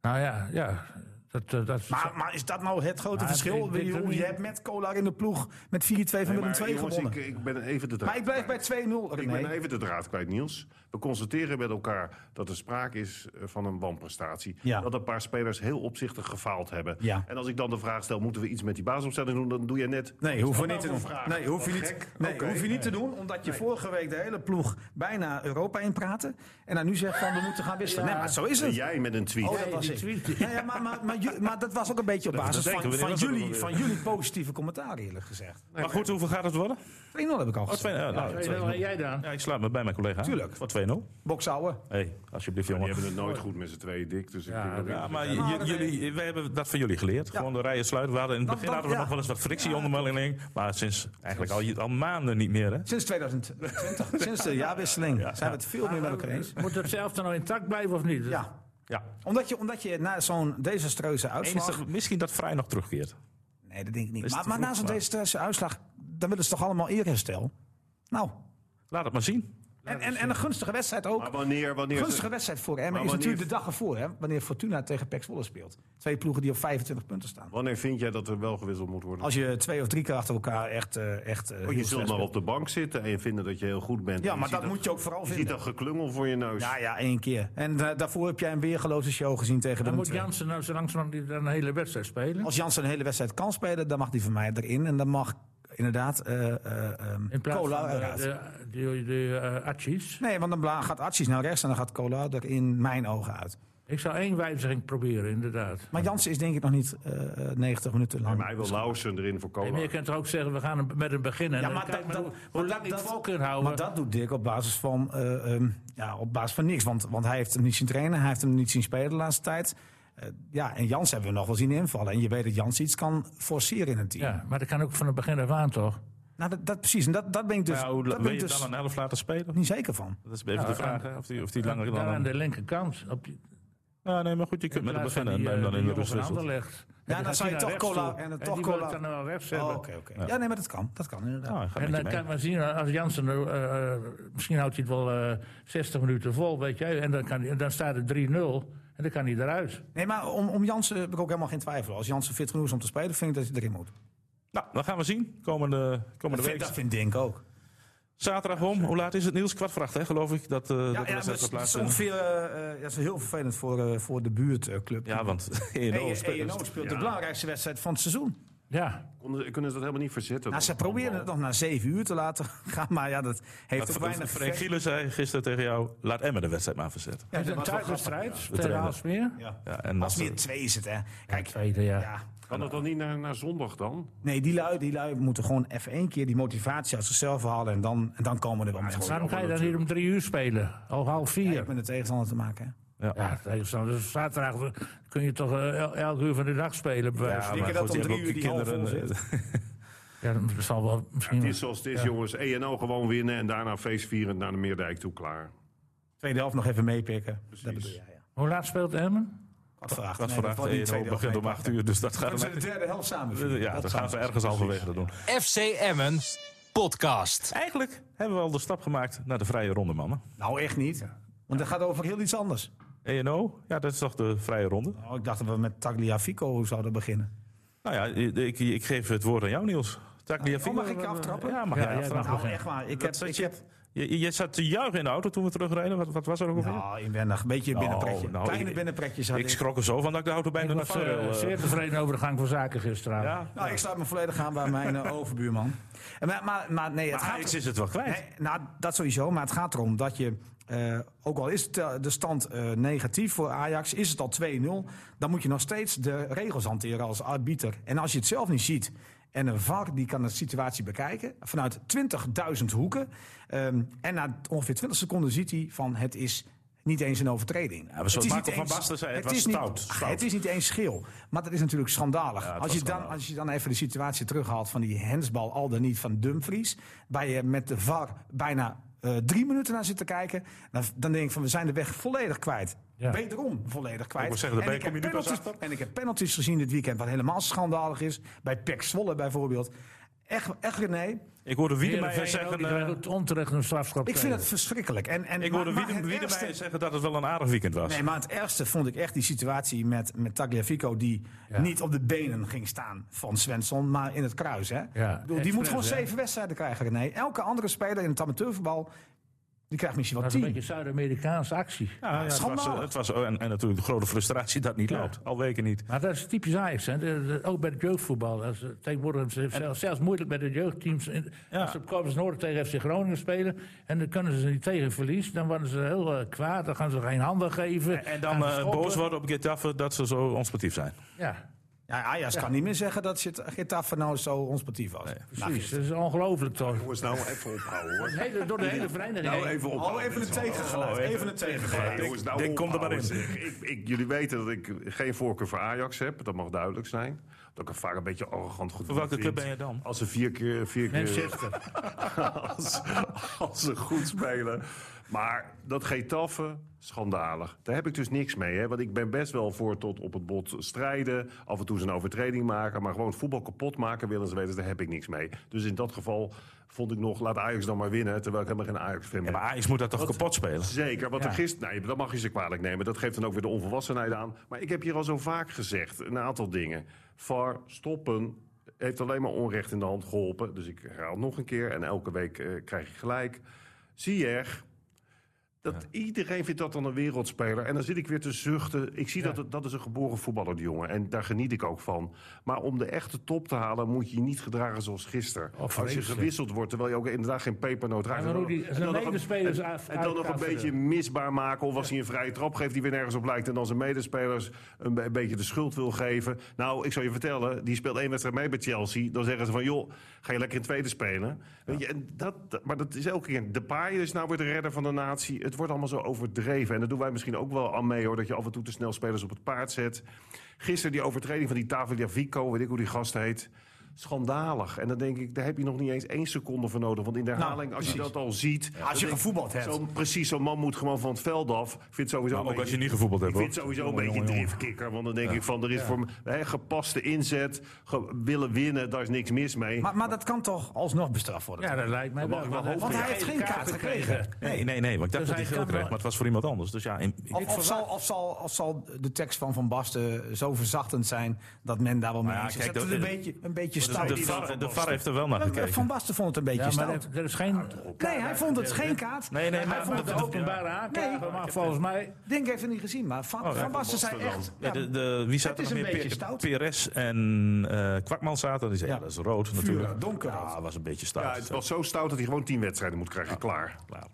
Nou ja, ja. Dat, eh, dat, Maar, maar is dat nou het grote Maar verschil? ik denk je, dat niet. je hebt met Kolar in de ploeg met 4-2 van Nee, Willem maar, 2 jongens, gewonnen. ik, ik ben even de draad maar ik blijf bij 2-0. Ik René. ben even de draad kwijt, Niels. We constateren met elkaar dat er sprake is eh, van een wanprestatie. Ja. Dat een paar spelers heel opzichtig gefaald hebben. Ja. En als ik dan de vraag stel, moeten we iets met die basisopstelling doen? Dan doe je net... Nee, hoef je dat niet te nou doen. voor vragen? Nee, hoef je Dat niet, gek? nee, Oké. hoef je niet te doen, omdat je vorige week de hele ploeg bijna Europa in praatte. En dan nu zegt van we moeten gaan wisselen. Nee, maar zo is En het. jij met een tweet. Oh, dat was die ik. tweet. Ja, ja, maar, maar, maar, ju- maar dat was ook een beetje op basis denken van, we, van, dat was ook jullie, wel van jullie positieve commentaar, eerlijk gezegd. 2-0 maar goed, hoeveel gaat het worden? heb ik al Oh, 2-0. gezegd. Ja, nou, Hey, dan, en jij dan? ja, ik sluit me bij mijn collega. aan. Tuurlijk. Voor 2-0. Boksouwen. hey, alsjeblieft, Die jongen. hebben het Oh. nooit goed met z'n tweeën, dik. Dus Ja, ik denk dat ik- Ja, maar j- j- jullie, wij hebben dat van jullie geleerd. Gewoon de rijen sluiten. We hadden in het Dan- begin dan- hadden we ja. nog wel eens wat frictie onderling. Maar sinds eigenlijk al, je- al maanden niet meer. Hè? Sinds 2020, sinds de jaarwisseling, zijn we het veel meer met elkaar eens. Moet het zelf dan nou intact blijven of niet? Ja, Ja. omdat je, omdat je na zo'n desastreuze uitslag... Enig, misschien dat vrij nog terugkeert. Nee, dat denk ik niet. Is Maar, te maar vroeg, na zo'n maar- desastreuze uitslag, dan willen ze toch allemaal eerherstel? Nou, Laat het maar zien. en, en, en een gunstige wedstrijd ook. Maar wanneer... wanneer gunstige wedstrijd voor Emmen Maar is wanneer- natuurlijk de dag ervoor, hè, wanneer Fortuna tegen PEC Zwolle speelt. Twee ploegen die op 25 punten staan. Wanneer vind jij dat er wel gewisseld moet worden? Als je twee of drie keer achter elkaar echt... eh, echt eh, Oh, heel je slecht zult maar speelt. op de bank zitten en je vinden dat je heel goed bent. Ja, En maar ziet dat, moet je ook vooral Je ziet vinden. dat geklungel voor je neus. Ja, ja, één keer. En eh, daarvoor heb jij een weergeloze show gezien tegen Dan Willem moet II. Jansen nou zo langzamerhand die dan een hele wedstrijd spelen. eh, Als Jansen een hele wedstrijd kan spelen, dan mag die van mij erin. En dan mag inderdaad eh eh, ehm, In plaats Kolar van de, eruit. de, de, de, eh, Atjes. Nee, want dan bla- gaat Atsies naar rechts en dan gaat Kolar er in mijn ogen uit. Ik zou één wijziging proberen, inderdaad. Maar Jansen is denk ik nog niet eh, eh, 90 minuten lang. Maar hij wil Lausen erin voor En je Kolar. kunt toch ook zeggen, we gaan een- met een beginnen. Ja, En maar dan kijk dat- hoe, dat- hoe maar lang die dat- vol kunt houden. Maar dat doet Dick op basis van, eh, ehm, ja, op basis van niks. Want, want hij heeft hem niet zien trainen, hij heeft hem niet zien spelen de laatste tijd. Eh, ja, en Jans hebben we nog wel zien invallen. En je weet dat Jans iets kan forceren in het team. ja, maar dat kan ook van het begin af aan, toch? Nou, dat, dat precies. En dat, dat ben ik dus, Maar ja, hoe, dat Nou, wil ben ik je dus dan een elf laten spelen? niet zeker van. Dat is even Ja, de vraag. aan- hè, Of die, of die Dan, langer dan... aan de linkerkant. Op die, Ja, Nou, nee, maar goed, je kunt met hem plaats van beginnen. die, En eh, dan in de die rust jongen van wisselt. Anderlecht. En dan die gaat zou je hij toch naar rechts Kolar- toe. en dan En toch die wil Kolar- het dan wel rechts Oh, hebben. Oké, oké. Ja, nee, maar dat kan. Dat kan inderdaad. Nou, hij gaat En met je dan mee. kan men zien, als Jansen, eh, eh, misschien houdt hij het wel eh, 60 minuten vol, weet jij. En dan, kan, hij- en dan staat het 3-0 en dan kan hij eruit. Nee, maar om, om Jansen heb ik ook helemaal geen twijfel. Als Jansen fit genoeg is om te spelen, vind ik dat hij erin moet. Nou, dan gaan we zien. Komende, Dat komende vind, week. dat vindt Dink ook. Zaterdag om. Hoe laat is het, Niels? Kwart voor acht, hè, geloof ik. Dat, eh dat de Ja, ja, wedstrijd dat is, gaat dat is plaatsvinden. ongeveer eh, eh, dat is heel vervelend voor, eh, voor de buurtclub. Ja, want E ENO ENO speelt, speelt... de belangrijkste wedstrijd van het seizoen. Ja, Konden- Kunnen ze dat helemaal niet verzetten? Nou, dan? ze proberen het nog na zeven uur te laten gaan, maar ja, dat heeft ook weinig Freek effect. Gielen zei gisteren tegen jou... laat Emmen de wedstrijd maar verzetten. Ja, het is dat Dus een was wel grappig. thuiswedstrijd tegen trainen. Aalsmeer. Ja. Ja, en Als dat- meer twee is het, hè. Kijk, Tweede, ja. ja. Kan dat dan niet naar, naar zondag dan? Nee, die lui, die lui moeten gewoon even één keer die motivatie uit zichzelf halen en dan, en dan komen er wel mensen. Waarom ga je dan hier om drie uur spelen? Al half vier. Ik ben de tegenstander te maken, hè. Ja, tegenstander. Dus zaterdag eh, kun je toch eh, el- elk uur van de dag spelen. bij wijze Ja, van- denken maar dat goed, die om hebben ook drie die uur die kinderen... eh, hal vol Ja, dat zal wel misschien. Het is zoals het is, jongens. ENO gewoon winnen en daarna feestvierend naar de Meerdijk toe klaar. Tweede helft nog even meepikken. Dat Precies. bedoel jij, ja. Hoe laat speelt Emmen? Wat voor acht. Kwart Nee, voor dat acht, eh, valt niet ENO tweede helft begint om meepakken. acht uur. Dus dat Dan gaat... zijn de derde helft samen. vieren. Ja, dat zou gaan ze ergens halverwege doen. FC Emmen podcast. Eigenlijk hebben we al de stap gemaakt naar de vrije ronde, mannen. Nou, echt niet. Want het gaat over heel iets anders. ENO, ja, dat is toch de vrije ronde? Oh, ik dacht dat we met Tagliafico zouden beginnen. Nou ja, ik, ik geef het woord aan jou, Niels. Tagliafico. Oh, mag ik aftrappen? Ja, mag Ja, jij jij aftrappen. mag. Nou, echt waar. Ik heb, Dat zat ik je, heb je, je zat te juichen in de auto toen we terugreden. Wat, wat was er ook alweer? nou, inwendig. Een beetje een binnenpretje. nou, Kleine ik- binnenpretjes had ik. ik schrok er zo van dat ik de auto bijna Ik naar was eh, vangrail... eh, zeer tevreden over de gang van zaken gisteravond. ja, Nou, ik sluit me volledig aan bij mijn eh, overbuurman. En Maar, maar, maar nee, het maar gaat... Ajax is Ah, het wel kwijt. Nee, nou, dat sowieso. Maar het gaat erom dat je, eh, ook al is het, eh, de stand eh, negatief voor Ajax, is het al 2-0, dan moet je nog steeds de regels hanteren als arbiter. En als je het zelf niet ziet. En een VAR die kan de situatie bekijken vanuit 20.000 hoeken. Ehm, en na ongeveer 20 seconden ziet hij van het is niet eens een overtreding. maar zoals Marco van Basten zei, het was is niet- stout, stout. het is niet eens geel. Maar dat is natuurlijk schandalig. Ja, het als, was je dan, schandalig. als je dan even de situatie terughaalt van die hensbal al dan niet van Dumfries. Waar je met de VAR bijna eh, drie minuten naar zit te kijken. Dan, dan denk ik van we zijn de weg volledig kwijt. Ja. Wederom volledig kwijt. moet zeggen, en, daarbij ik heb kom je nu pas penalties, en ik heb penalties gezien dit weekend wat helemaal schandalig is. Bij Pek Zwolle bijvoorbeeld. Echt, echt René, Ik hoorde Wiedemeyer Heerenveen ook, zeggen... die eh, krijgt onterecht een strafschop. ik vind tegen. het verschrikkelijk. En, en, ik maar- hoorde maar Wiedem- het Wiedemeyer ergste- zeggen dat het wel een aardig weekend was. Nee, maar het ergste vond ik echt die situatie met, met Tagliafico... die Ja. niet op de benen ging staan van Svensson, maar in het kruis. Hè? Ik bedoel, die moet expres, gewoon hè. zeven wedstrijden krijgen, René. Elke andere speler in het amateurvoetbal... die krijgt misschien wel Dat is een tien. beetje Zuid-Amerikaanse actie. Ja, ja, het was, Schandalig. eh, het was, oh, en, en natuurlijk de grote frustratie dat het niet Ja. loopt. Al weken niet. Maar dat is typisch Ajax. Hè? De- de- ook bij het jeugdvoetbal. Dat is, eh, tegenwoordig hebben ze het zelfs, zelfs moeilijk met de jeugdteams. In- Ja. Als ze op Corpus Noord tegen FC Groningen spelen... en dan kunnen ze niet tegen verlies... dan worden ze heel eh, kwaad. Dan gaan ze geen handen geven. En dan gaan ze eh, schoppen. boos worden op Getafe dat ze zo onsportief zijn. Ja, Ja, Ajax kan niet meer zeggen dat Git- Getafe nou zo onsportief was. Nou, precies. Dat is ongelooflijk toch. Jongens, nou even ophouden hoor. Hele, door de hele vereniging. Nou even Oh, ophouden. even met een z'n allen. Oh, tegengeluid. Even een tegengeluid. Ja, jongens, nou Dick, kom er maar ophouden, in. zeg. Ik, ik, jullie weten dat ik geen voorkeur voor Ajax heb. Dat mag duidelijk zijn. Dat ik er vaak een beetje arrogant goed Voor welke vind. club ben je dan? Als ze vier keer... Vier keer Manchester. als, als ze goed spelen. Maar dat Getafe, schandalig. Daar heb ik dus niks mee. Hè? Want ik ben best wel voor tot op het bot strijden. Af en toe eens een overtreding maken. Maar gewoon het voetbal kapot maken willen ze weten. Daar heb ik niks mee. Dus in dat geval vond ik nog... Laat Ajax dan maar winnen. Terwijl ik helemaal geen Ajax-fan ben. Ja, maar Ajax moet dat toch kapot spelen? Zeker, want Ja. er gisteren, nee, dat mag je ze kwalijk nemen. Dat geeft dan ook weer de onvolwassenheid aan. Maar ik heb hier al zo vaak gezegd, een aantal dingen. VAR stoppen heeft alleen maar onrecht in de hand geholpen. Dus ik herhaal nog een keer en elke week eh, krijg je gelijk. Ziyech, dat iedereen vindt dat dan een wereldspeler. En dan zit ik weer te zuchten. Ik zie dat het- dat is een geboren voetballer, die jongen. En daar geniet ik ook van. Maar om de echte top te halen, moet je je niet gedragen zoals gisteren. Als je vreselijk. gewisseld wordt, terwijl je ook inderdaad geen pepernoot raakt. Ja, maar En dan Rudy, nog- zijn en dan nog een- medespelers en- af- En dan nog een uitkafferen. beetje misbaar maken. Of als hij een vrije trap geeft die weer nergens op lijkt. En dan zijn medespelers een, be- een beetje de schuld wil geven. Nou, ik zal je vertellen, die speelt één wedstrijd mee bij Chelsea. Dan zeggen ze van, joh, ga je lekker in tweede spelen. Weet je, en dat, dat- maar dat is elke keer. De paai is nou weer de redder van de natie. Het wordt allemaal zo overdreven. En dat doen wij misschien ook wel aan mee, hoor. Dat je af en toe te snel spelers op het paard zet. Gisteren die overtreding van die Tavia Vico, weet ik hoe die gast heet. Schandalig. En dan denk ik, daar heb je nog niet eens één seconde voor nodig. Want in de Nou, herhaling, als je dat al ziet... Als je dan denk ik, gevoetbald hebt. zo'n- precies, zo'n man moet gewoon van het veld af. Ik vind sowieso Maar een ook als je beetje, niet gevoetbald hebt. ik vind hoor. sowieso een beetje driftkikker. Want dan denk ik van, er is voor me hè, gepaste inzet, ge- willen winnen, daar is niks mis mee. Maar, maar dat kan toch alsnog bestraft worden? Ja, dat lijkt mij wel. mag ik wel Want- hopen. Want hij heeft geen kaart gekregen. Nee, nee, nee, want ik dacht Dus dat hij hij geel kan kreeg, wel- maar het was voor iemand anders. Dus ja, in- ik- Of, of zal, of, zal, of zal de tekst van Van Basten zo verzachtend zijn dat men daar wel mee Nou ja, eens is? kijk, Dat dat- het een beetje, een beetje stout Dus de, is. VAR, de VAR heeft er wel naar Ja, gekeken. Van Basten vond het een beetje Ja, maar stout. er, er is Ah, geen... Nee, hij vond het geen kaart. Nee, nee, maar- hij vond De het openbare aanklager Nee. mag volgens mij... Denk heeft het niet gezien, maar Oh, Van, van Basten zei echt... Ja, Ja, de, de, wie zat Het er is nog een meer? beetje Pe- stout. Perez en eh Kwakman zaten. Die zei, ja, Ja. dat is rood Vuur, natuurlijk. donkerrood. Ja, was een beetje stout. ja, het was zo stout dat hij gewoon tien wedstrijden moet krijgen. Klaar. Klaar.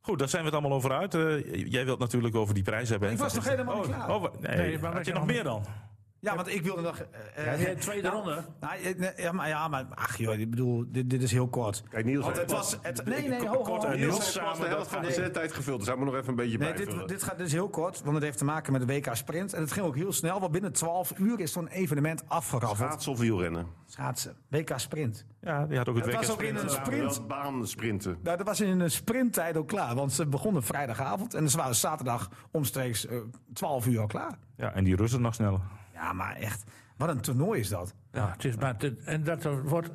Goed, daar zijn we het allemaal over uit. Eh, jij wilt natuurlijk over die prijs hebben. hè? Ik was nog helemaal niet klaar. Oh, wa- nee, Nee, maar had je we nog gaan- meer dan? ja, want ik wilde nog... eh, eh, Ja, tweede nou, ronde. nou, eh, nee, ja, maar, ja, maar ach joh, ik bedoel, dit, dit is heel kort. Kijk, Niels heeft Het was... Het, nee, nee, ho, ho, ho. Niels heeft samen pas de dat helft van de gaat- zendtijd gevuld. Dus hij moet nog even een beetje Nee, bijvullen. dit, dit, gaat, dit is heel kort, want het heeft te maken met de WK Sprint. En het ging ook heel snel, want binnen 12 uur is zo'n evenement afgeraffeld. Schaatsen of wielrennen? Schaatsen. WK Sprint. Ja, die had ook het Het WK was ook in een sprinten. sprint. Wel baan sprinten. Nou, dat was in een sprinttijd ook klaar. Want ze begonnen vrijdagavond en ze waren zaterdag omstreeks eh, 12 uur al klaar. Ja, en die Russen nog sneller. Ja, maar echt, wat een toernooi is dat. Ja, het is maar te- en dat er wordt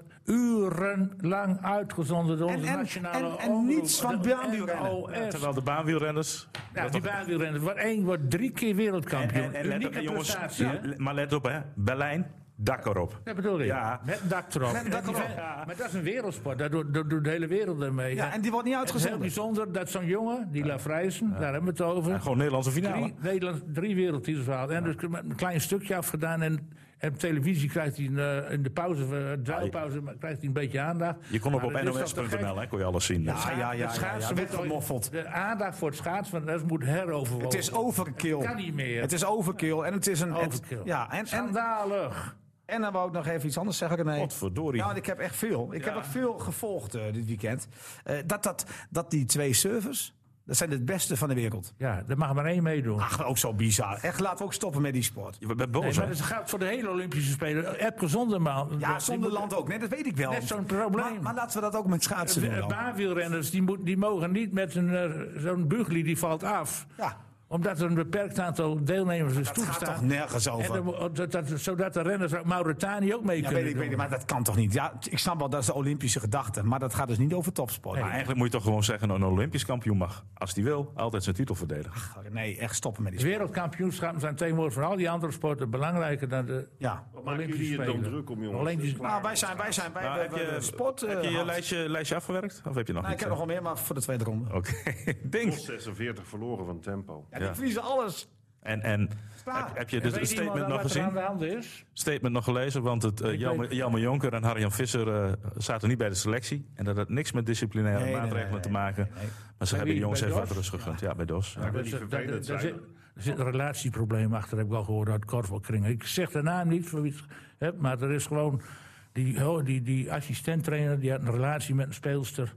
urenlang uitgezonden door En- onze en- nationale en- en omroep, niets van de baanwielrennen. NOS. Terwijl de baanwielrenners... Ja, dat die toch- baanwielrenners. Wordt één, wordt drie keer wereldkampioen. en, en let Unieke op, jongens, prestatie, hè? le- maar let op hè, Berlijn, dak erop. Dat bedoel ik. Ja. Met een dak erop. Met een dak En die erop. vent- Maar dat is een wereldsport. Daar doet, daar doet de hele wereld aan mee. Ja, en die wordt niet het is heel uitgezonden. bijzonder dat zo'n jongen, die Lafrijzen, daar hebben we het over. En gewoon Nederlandse finale. drie, Nederland, drie wereldtitels gehaald. En dus met een klein stukje afgedaan. En, en op televisie krijgt hij een, eh, in de pauze, eh, draaipauze, maar krijgt hij een beetje aandacht. Je kon op, Maar op dat is toch te gek? nos.nl, hè, kon je alles zien. Dus. Ja, ja, ja, ja, Het ja, schaatsen werd wordt- gemoffeld. De aandacht voor het schaatsen, dat moet heroverwogen. Het is overkill. Oh. kan niet meer. Het is overkill en het is een... het- overkill. ja, en, en, Schandalig. en dan wou ik nog even iets anders zeggen, René. Godverdorie. Ja, want ik heb echt veel. Ik heb ook veel gevolgd eh, dit weekend. Eh, dat, dat, dat die twee servers, dat zijn het beste van de wereld. Ja, er mag maar één meedoen. Ach, ook zo bizar. Echt, laten we ook stoppen met die sport. Je bent boos Nee, maar hè? dat geldt voor de hele Olympische Spelen. Epke Zonderman. Ja, zonder land ook. Nee, dat weet ik wel. Net zo'n probleem. Eh, Maar, maar laten we dat ook met schaatsen doen De dan. baanwielrenners die, moet, die mogen niet met een, eh, zo'n bugli die valt af. Ja. Omdat er een beperkt aantal deelnemers is Het gaat toegestaan. toch nergens En over? dan- oh, dat, dat- zodat de renners uit Mauritanië ook mee Ja, kunnen weet ik, weet ik, doen. maar dat kan toch niet? Ja, t- ik snap wel, dat is de Olympische gedachte. Maar dat gaat dus niet over topsport. Maar eigenlijk moet je toch gewoon zeggen: een Olympisch kampioen mag, als hij wil, altijd zijn titel verdedigen. Ach, nee, echt stoppen met die De Wereldkampioenschappen zijn tegenwoordig voor al die andere sporten belangrijker dan de sport. Ja. Wat maken Olympische jullie je dan Spelen. druk om, jongens? Olympische- Dat is klaar. Nou, wij zijn, wij zijn, wij, Maar wij- heb wij- je- sport. eh, Heb je je gehad. lijstje, lijstje afgewerkt? Of heb je nog Nou, ik niet? heb nog wel meer, maar voor de tweede ronde. Oké, ding. Tot 46 verloren van tempo. Ja, die verliezen alles. En, en Klaar. heb, heb je En dus weet het iemand statement nog wat er gezien? aan de hand is? statement nog gelezen, want het, eh, Ik Jelme, weet- Jelme Jonker en Harjan Visser eh, zaten niet bij de selectie. En dat had niks met disciplinaire Nee, nee, maatregelen nee, te nee, maken. Maar ze Bij hebben de wie? jongens Bij even wat DOS? rust gegund. Ja, bij DOS. Ja. wil Dus niet dat- vervelend daar zijn. zit- Er zit een relatieprobleem achter, heb ik al gehoord uit korfbalkringen. Ik zeg de naam niet, voor wie het heb, maar er is gewoon... Die, oh, die, die assistent-trainer die had een relatie met een speelster.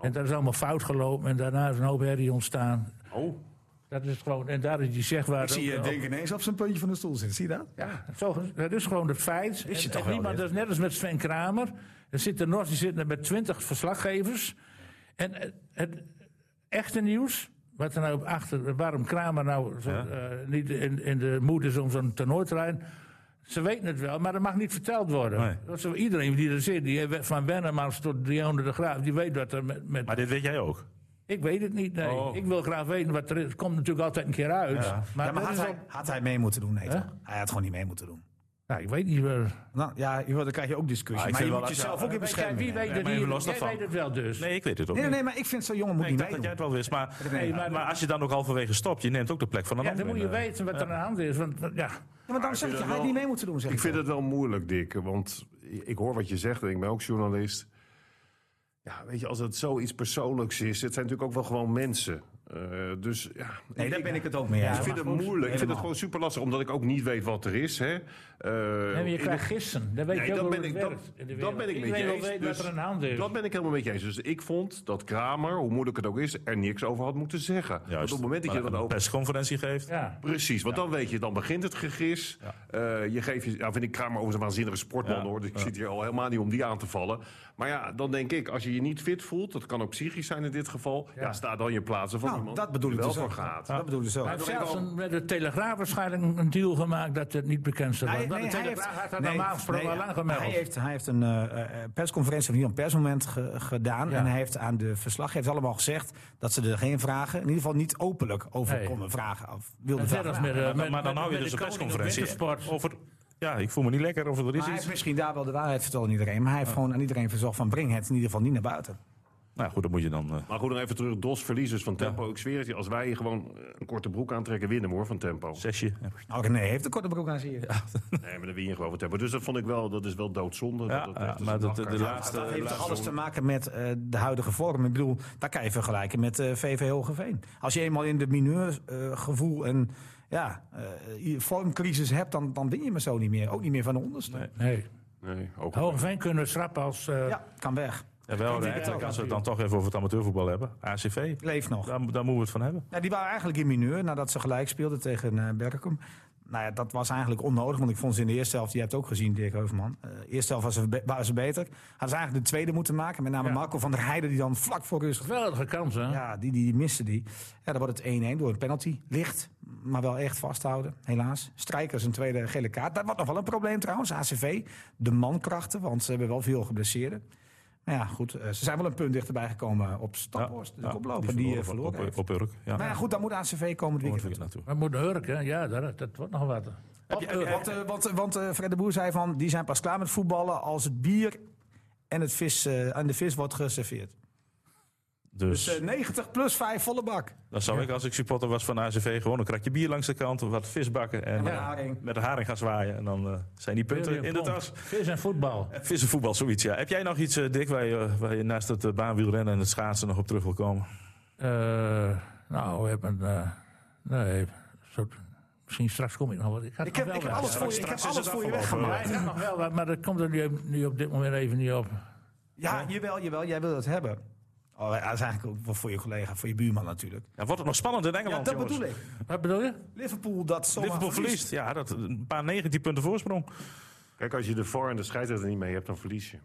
En dat is allemaal fout gelopen. En daarna is een hoop herrie ontstaan. Oh, Dat is gewoon, en daar is die zegwaarde... Ik zie ook- je ook- denk ineens op zijn puntje van de stoel zitten. Zie je dat? Ja, zo, dat is gewoon het feit. je En- toch en wel niemand, dit? dat is net als met Sven Kramer. Er zitten nog, die zitten met twintig verslaggevers. En het, het echte nieuws, wat er nou achter, waarom Kramer nou zo, eh, niet in, in de moed is om zo'n toernooiterrein. Ze weten het wel, maar dat mag niet verteld worden. Nee. Dat is- iedereen die er zit, die, heeft- van Wennemans tot Dionne de Graaf, die weet wat er met... met Maar dit weet jij ook. ik weet het niet, nee. Oh. Ik wil graag weten wat er is. Het komt natuurlijk altijd een keer uit. Maar, Ja, maar dat had is hij, al- had hij mee moeten doen? Nee, toch? Hij had gewoon niet mee moeten doen. nou, ik weet niet waar... Nou ja, joh, dan krijg je ook discussie. Ah, ik maar je vind wel dat- moet jezelf ja, ook in Weet jij, bescherming wie nemen. weet Nee, dat maar hier? even los Jij daarvan. weet het wel dus. Nee, ik weet het ook Nee, nee, niet. nee, maar ik vind zo'n jongen moet Nee, ik niet dacht dat jij meedoen. het wel wist. Maar, Nee, maar, maar- als je dan ook halverwege stopt, je neemt ook de plek van een Ja, ander dan moet je in, eh. weten wat er aan de hand is. Want ja, Ja, maar daarom zeg ik, vind je, het hij had wel- niet mee moeten doen, zeg ik vind dan. het wel moeilijk, Dick. Want ik hoor wat je zegt en ik ben ook journalist. Ja, weet je, als het zoiets persoonlijks is... Het zijn natuurlijk ook wel gewoon mensen. Eh, dus ja... Nee, daar ben ik het ook mee. eens. ik vind het moeilijk. Ik vind het gewoon super lastig, omdat ik ook niet weet wat er is. Hè. Eh, nee, maar je in de krijgt gissen. Dan weet Nee, je ook dat hoe ben het ik- dat- werkt in de dat wereld. ben ik met Iedereen je wil eens, weten dus wat er aan de hand is. Dat ben ik helemaal met je eens. Dus ik vond dat Kramer, hoe moeilijk het ook is, er niks over had moeten zeggen. Want op Juist. het moment dat je Maar dat een over... persconferentie geeft. ja. Precies, want dan weet je, dan begint het gegis. Eh, je geeft je, nou vind ik Kramer over een waanzinnige sportman Ja, hoor. Dus ik zit hier al helemaal niet om die aan te vallen. Maar ja, dan denk ik, als je je niet fit voelt, dat kan ook psychisch zijn in dit geval. Ja, sta dan je plaatsen van Nou, iemand dat bedoel die ik wel dus voor ook. gaat. Dat bedoel ik zo. Hij Nee, heeft zelfs een- met de Telegraaf waarschijnlijk een een deal gemaakt dat het niet bekend zou worden. Want de hij Telegraaf heeft- had dat nee, normaal gesproken nee, al lang gemeld. Hij heeft, hij heeft een eh, eh, persconferentie van hier een persmoment ge- gedaan. Ja. En hij heeft aan de verslaggevers allemaal gezegd dat ze er geen vragen, in ieder geval niet openlijk over Nee. konden vragen. Of wilden En verder vragen. als met, eh, Maar dan, met- maar dan met- hou je met dus de een koning op persconferentie wintersport. over... Ja, ik voel me niet lekker of er is Maar hij heeft iets. misschien daar wel de waarheid verteld aan iedereen. Maar hij heeft gewoon aan iedereen verzocht van breng het in ieder geval niet naar buiten. Nou goed, dan moet je dan... eh, Maar goed, nog even terug. Dos verliezers van tempo. Ik zweer het je, als wij gewoon eh, een korte broek aantrekken, winnen we, hoor van tempo. Zesje. Nou, René heeft een korte broek aan, zie je. Nee, maar dan win je gewoon van tempo. Dus dat vond ik wel, dat is wel doodzonde. Ja, dat ja, echt als maar een dat- de, nachtkaart- de Dus, laatste... eh, Dat heeft toch laatste- alles te maken met eh, de huidige vorm. Ik bedoel, daar kan je vergelijken met eh, VV Hogeveen. Als je eenmaal in de mineurgevoel en ja, eh, je vormcrisis hebt, dan, dan win je me zo niet meer. Ook niet meer van de onderste. Nee, Nee, ook Hogeveen kunnen we schrappen als... eh, Ja, kan weg. Ja, wel, die eigenlijk, ook. als we het dan toch even over het amateurvoetbal hebben. ACV, Leef nog. daar, daar moeten we het van hebben. Ja, die waren eigenlijk in mineur nadat ze gelijk speelden tegen eh Berkum. Nou ja, dat was eigenlijk onnodig, want ik vond ze in de eerste helft, je hebt het ook gezien, Dirk Heuvelman. Eh, De eerste helft was ze, be- waren ze beter. Hadden ze eigenlijk de tweede moeten maken, met name Ja. Marco van der Heijden, die dan vlak voor rust Geweldige kans, hè? Ja, die, die, die miste die. Ja, dan wordt het 1-1 door een penalty. Licht, maar wel echt vasthouden, helaas. Strijkers een tweede gele kaart. Dat wordt nog wel een probleem trouwens, ACV. De mankrachten, want ze hebben wel veel geblesseerden. Maar ja, goed, eh, ze zijn wel een punt dichterbij gekomen op Staphorst. de Ja, koploper die, eh, op- verloren op, heeft. op, Urk. Ja. Maar ja, goed, dan moet ACV komend Daar weekend. moeten we naartoe. Maar moet Urk, hè? Ja, dat, dat wordt nog wat. Op Urk. Want, eh, want, eh, want eh, Fred de Boer zei van, die zijn pas klaar met voetballen als het bier en, het vis, eh, en de vis wordt geserveerd. Dus, Dus eh, 90 plus 5 volle bak. dan zou ik als ik supporter was van ACV gewoon een kratje bier langs de kant, wat vis bakken en met eh, haring. met de haring gaan zwaaien. En dan eh, zijn die punten in de tas. Vis en voetbal. En Vissenvoetbal, zoiets ja. Heb jij nog iets, eh, Dick, waar je, waar je naast het eh, baanwielrennen en het schaatsen nog op terug wil komen? Eh, nou, we hebben. eh, nee, soort, misschien straks kom ik nog wat. Ik, had Ik nog heb, ik heb wel wat. alles voor je, ik heb straks is alles het voor je afgelopen. weggemaakt. Ja, ik had nog wel wat, maar dat komt er nu, nu op dit moment even niet op. Ja, jawel, jawel. Jij wil dat hebben. Oh, dat is eigenlijk ook wel voor je collega, voor je buurman natuurlijk. Ja, wordt het nog spannend in Ja, Engeland, dat jongens? bedoel ik. Wat bedoel je? Liverpool dat zomaar Liverpool verliest. Ja, dat, een paar 19 punten voorsprong. Kijk, als je de VAR en de scheidsrechter niet mee hebt, dan verlies je.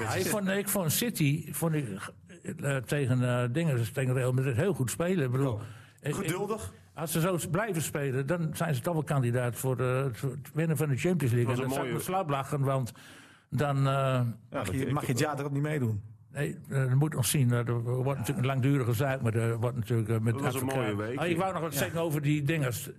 Ja, ik, vond, ik vond City vond ik, eh, eh, tegen eh, dingen, dus tegen Real Madrid heel goed spelen. Ik bedoel, Ik- ik- Geduldig. Als ze zo blijven spelen, dan zijn ze toch wel kandidaat voor eh, het het winnen van de Champions League. en Dat was een dat zou ik mooie- me slap lachen, want dan... eh, Mag je, mag je het jaar erop niet meedoen? Nee, eh, dat moet nog zien. Eh, Er wordt natuurlijk een langdurige zaak, maar er wordt natuurlijk eh, met Dat was een advocaat- mooie week, Oh, ik ja. wou nog wat zeggen over die dingers.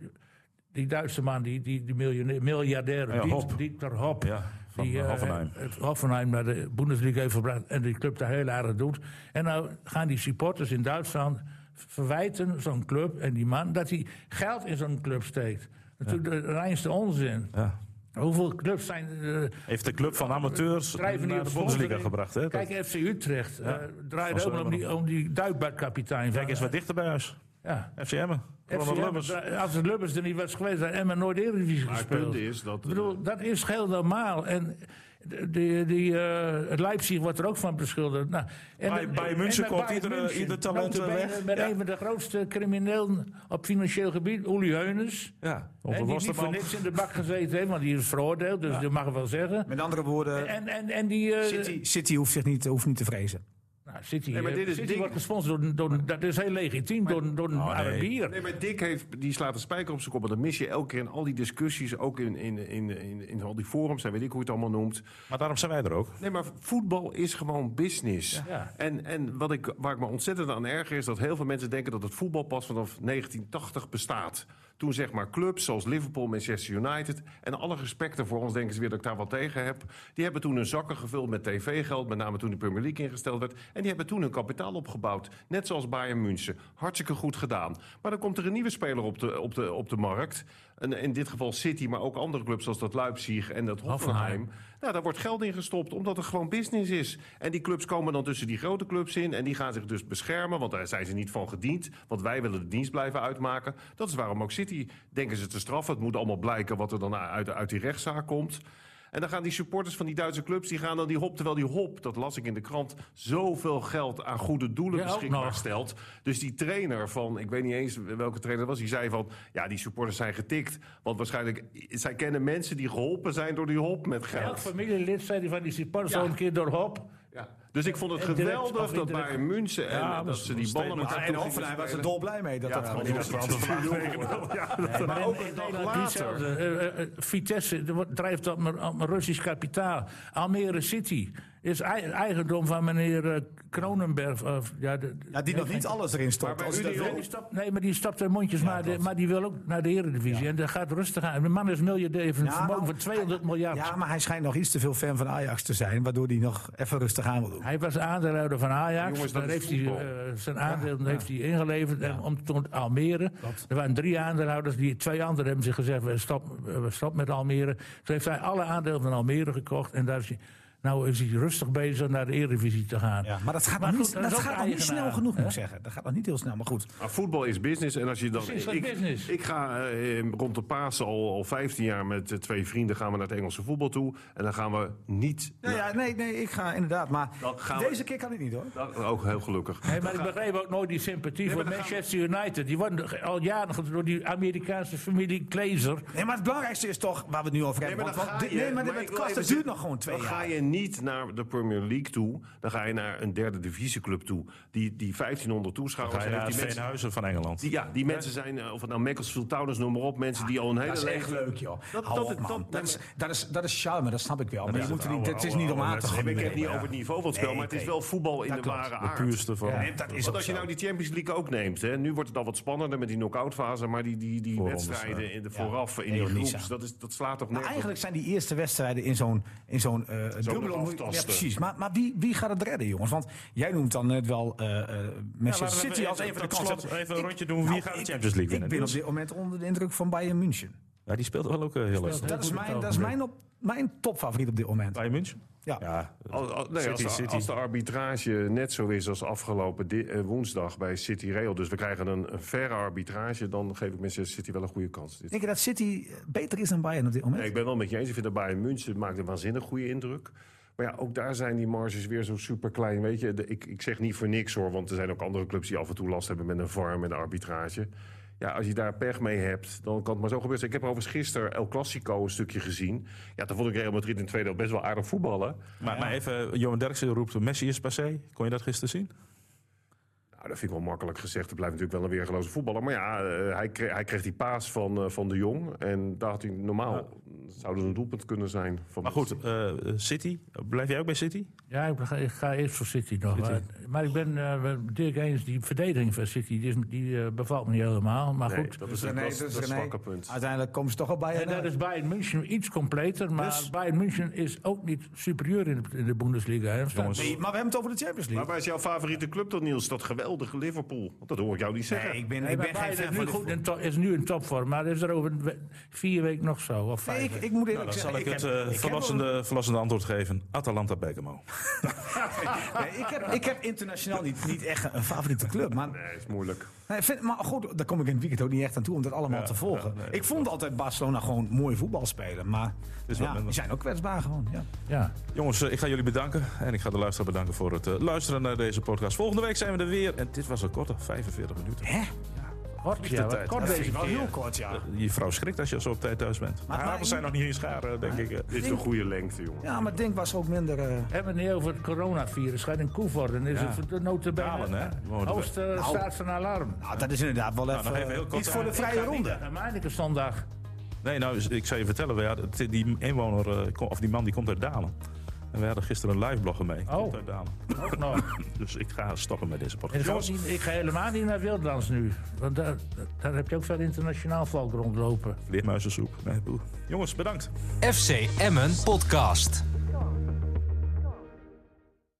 Die Duitse man, die, die, die miljonair, miljardair, Ja, Diet- Hop. Dieter Hop. Ja, van die, eh, Hoffenheim. het Hoffenheim naar de Bundesliga heeft gebracht en die club daar heel aardig doet. En nou gaan die supporters in Duitsland verwijten zo'n club en die man dat hij geld in zo'n club steekt. Natuurlijk de reinste onzin. Ja. Hoeveel clubs zijn eh, Heeft de club van amateurs naar Drijven die de op Bondesliga sponsoring. gebracht. Hè? Dat- Kijk, FC Utrecht eh draait Van helemaal om die, om die duikbadkapitein. Kijk eens wat dichter bij huis. Ja. FC Emmen. FC Ronald Lubbers. Emmen, eh, als het Lubbers er niet was geweest, had Emmen nooit Eredivisie Maar het gespeeld. punt is dat... Ik bedoel, dat is heel normaal. En de- die, die, eh, het Leipzig wordt er ook van beschuldigd. Nou, en Bij- de- bij en München bij koopt Bayern iedere- München, ieder talent, eh, notabene weg. Met Ja. een van de grootste criminelen op financieel gebied, Uli Heunes. Ja, Hè, onze die niet voor worstenman. niks in de bak gezeten heeft, want die is veroordeeld, dus dat mag ik wel zeggen. Met andere woorden, En, en, en die, eh, City, City hoeft, zich niet, hoeft niet te vrezen. Nou, City, maar eh, dit is City ding- wordt gesponsord door, door, dat is heel legitiem, door, door een Arabier. Oh, Nee, maar Dick heeft, die slaat een spijker op zijn kop. Want dat mis je elke keer in al die discussies, ook in, in, in, in, in al die forums en weet ik hoe je het allemaal noemt. Maar daarom zijn wij er ook. Nee, maar voetbal is gewoon business. Ja. En, en wat ik, waar ik me ontzettend aan erger is dat heel veel mensen denken dat het voetbal pas vanaf 1980 bestaat. Toen zeg maar clubs zoals Liverpool, Manchester United en alle respecten voor ons denken ze weer dat ik daar wat tegen heb. Die hebben toen hun zakken gevuld met tv-geld, met name toen de Premier League ingesteld werd. En die hebben toen hun kapitaal opgebouwd. Net zoals Bayern München. Hartstikke goed gedaan. Maar dan komt er een nieuwe speler op de, op de, op de markt. En in dit geval City, maar ook andere clubs zoals dat Leipzig en dat Hoffenheim. Nou, daar wordt geld in gestopt, omdat het gewoon business is. En die clubs komen dan tussen die grote clubs in. En die gaan zich dus beschermen, want daar zijn ze niet van gediend. Want wij willen de dienst blijven uitmaken. Dat is waarom ook City denken ze te straffen. Het moet allemaal blijken wat er dan uit, uit die rechtszaak komt. En dan gaan die supporters van die Duitse clubs, die gaan dan die hop. Terwijl die hop, dat las ik in de krant, zoveel geld aan goede doelen Ja, ook beschikbaar nog. stelt. Dus die trainer van, ik weet niet eens welke trainer dat was, die zei van, ja, die supporters zijn getikt. Want waarschijnlijk, zij kennen mensen die geholpen zijn door die hop met Elk geld. familielid zei die van die supporters Ja. al een keer door Hop. Ja. Dus ik vond het En direct, geweldig of dat indirect. Bayern München en Ja, dat, dat is ze een die ballen statement. met elkaar En toe Hoffenheim gingen was er spelen. dolblij mee dat Ja, dat dat aan was de een hand was. Maar ook een dag Nederland later. diezelfde. Eh, eh, eh, Vitesse er wordt- drijft op mijn- op mijn Russisch kapitaal. Almere City is ei- eigendom van meneer eh, Kronenberg. of- ja, de- Ja, die nog niet alles erin stopt. bij Als je dat Union- Nee, wil. die stapt- nee, maar die stapt in mondjes, maar, de- maar die wil ook naar de Eredivisie. En dat gaat rustig aan. De man is miljardair, heeft een Ja, vermogen nou, van 200 hij- miljard. Ja, maar hij schijnt nog iets te veel fan van Ajax te zijn, waardoor hij nog even rustig aan wil doen. Hij was aandeelhouder van Ajax. Jongens, dat Daar is heeft hij, voetbal. eh, zijn aandeel heeft hij ingeleverd. En om toen Almere. Er waren drie aandeelhouders. Die, twee anderen hebben zich gezegd: we stoppen we stop met Almere. Toen heeft hij alle aandelen van Almere gekocht. En daar is hij, nou is hij rustig bezig naar de Eredivisie te gaan. Ja, maar dat gaat, Maar nog goed, niet, dat dat is ook gaat nog niet eigenaar, snel genoeg, moet hè? ik zeggen. Dat gaat nog niet heel snel, maar goed. Maar voetbal is business en als je dan... Precies, dat ik, is business. ik ga eh, eh, rond de Pasen al, al 15 jaar met eh, twee vrienden gaan we naar het Engelse voetbal toe. En dan gaan we niet... Nou ja, nee, nee, ik ga inderdaad. Maar Dan gaan we- deze keer kan ik niet hoor. Nou, Ook heel gelukkig. Nee, maar ik begreep ook nooit die sympathie voor maar dan gaan Manchester United. Die worden al jaren ge- door die Amerikaanse familie Klezer. Nee, maar het belangrijkste is toch waar we het nu over hebben. dan want- ga want dit- je- nee, maar dit maar met ik wil Kast, dat even duurt zeggen, nog gewoon twee Dan ga jaar. je niet naar de Premier League toe. Dan ga je naar een derde divisieclub toe. Die, die 1500 toeschouwers Ga je heeft. naar Die mensen, Veenhuizen van Engeland. die, ja, die mensen zijn, eh, of het nou Macclesfield Towners, noem maar op. Mensen die al een hele Ah, Dat is echt leven- leuk, joh. Dat- Dat, dat- dat, dat- dat, is, dat, is, dat is charme, dat snap ik wel. Maar is je moet het er niet, oude- het is niet om oude- aan oude te gaan. Nee, maar ik heb Nee, het niet over het niveau van het spel, Nee, maar het is nee. wel voetbal in Dat de klopt. ware De aard. puurste van. Nee, dat is Want ook als je zo. nou die Champions League ook neemt, hè, nu wordt het al wat spannender met die knock-out fase, maar die, die, die Voorrondes, wedstrijden ja. in de vooraf in Nee, die joh, niet groeps, zo. dat, is, dat slaat toch Maar nergens. op. Nou, eigenlijk zijn die eerste wedstrijden in zo'n in zo'n eh, dubbele aftasten. Ja, precies. Maar, maar wie, wie gaat het redden, jongens? Want jij noemt dan net wel eh, eh, laten Manchester we City als even een van de tot slot kansen. even een Ik- rondje doen. Wie nou, gaat de ik- Champions League winnen? Ik ben op Dus- dit moment onder de indruk van Bayern München. Ja, die speelt wel ook eh, heel lastig. Heel Dat is goed mijn, op dat is het mijn, op, mijn topfavoriet op dit moment. Bayern München? Ja. Als, als- nee, als, City, de, City. als de arbitrage net zo is als afgelopen di- eh, woensdag bij City Real, dus we krijgen een, een verre arbitrage, dan geef ik Manchester City wel een goede kans. Dit. Denk je dat City eh, beter is dan Bayern op dit moment? Nee, ik ben wel met je eens. Ik vind dat Bayern München maakt een waanzinnig goede indruk. Maar ja, ook daar zijn die marges weer zo super klein. Weet je, De- ik, ik zeg niet voor niks hoor, want er zijn ook andere clubs die af en toe last hebben met een VAR, met een arbitrage. Ja, als je daar pech mee hebt, dan kan het maar zo gebeuren. Ik heb overigens gisteren El Clasico een stukje gezien. Ja, toen vond ik Real Madrid in het tweede helft best wel aardig voetballen. Maar, maar even, Johan Derksen roept Messi is passé. Kon je dat gisteren zien? Nou, Nou, dat vind ik wel makkelijk gezegd. Het blijft natuurlijk wel een weergeloze voetballer. Maar ja, eh, hij, kreeg, hij kreeg die paas van, eh, van de Jong. En daar had hij normaal... zou dat een doelpunt kunnen zijn. Van Maar goed, eh, City. Blijf jij ook bij City? Ja, ik ga, ik ga eerst voor City nog. Maar, maar ik ben eh, met Dirk eens, die verdediging van City, die, is, die eh, bevalt me niet helemaal. Maar Nee, goed, dat is, René, dat is, dus dat is een René, zwakke punt. Uiteindelijk komen ze toch eh. al bij en dat je. is Bayern München iets completer. Maar Bayern München is ook niet superieur in de, in de Bundesliga. Hè? Jongens. Nee, maar we hebben het over de Champions Maar League. waar is jouw favoriete club dan, Niels? Dat geweldige Liverpool. Want Dat hoor ik jou niet zeggen. Nee, ik ben, Nee, ik maar ben geen Bayern fan is van nu, de goed in top- is nu in topvorm, maar is er over we- vier weken nog zo? Of vijf Nee, ik, weken? ik moet eerlijk Dan zeggen, zal ik het heb- eh, ik heb verrassende, verrassende antwoord geven. Atalanta Bergamo. wel- nee, ik, heb, ik heb internationaal niet, niet echt een favoriete club. Maar, Nee, is moeilijk. nee, vind- maar goed, daar kom ik in het weekend ook niet echt aan toe om dat allemaal te volgen. ik vond altijd Barcelona gewoon mooi voetbal spelen. Maar is wel ja, minder. die zijn ook kwetsbaar gewoon. Ja. Ja. Jongens, eh, ik ga jullie bedanken. En ik ga de luisteraar bedanken voor het eh, luisteren naar deze podcast. Volgende week zijn we er weer. En dit was een korte, 45 minuten. Hè? Kort, ja, tijd. kort deze Wel keer. heel kort, ja. Je vrouw schrikt als je zo op tijd thuis bent. Maar, Maar- maar- zijn nog niet eens gaar, eh, denk ik. eh. Dit is de goede lengte, jongen. Ja, maar Denk was ook minder... eh, Hebben we het niet over het coronavirus? Gaat in Koevoort en is Ja. het de notabene... Dalen, hè? Wonen we. Hoogste staat van alarm. nou, dat is inderdaad wel nog even even, heel kort eh, iets voor de aan. vrije ronde. Een Meineke zondag. Nee, nou, ik zou je vertellen. wij hadden- die inwoner, eh, kom- of die man, die komt uit Dalen. En we hadden gisteren een live blogger mee. Die Oh. Komt uit Dalen. Ook nog. Dus ik ga stoppen met deze En podcast. ik, ga ook Jongens, niet, ik ga helemaal niet naar Wildlands nu. Want daar, daar heb je ook veel internationaal volk rondlopen. vleermuizensoep. Nee, boe. Jongens, bedankt. FC Emmen Podcast.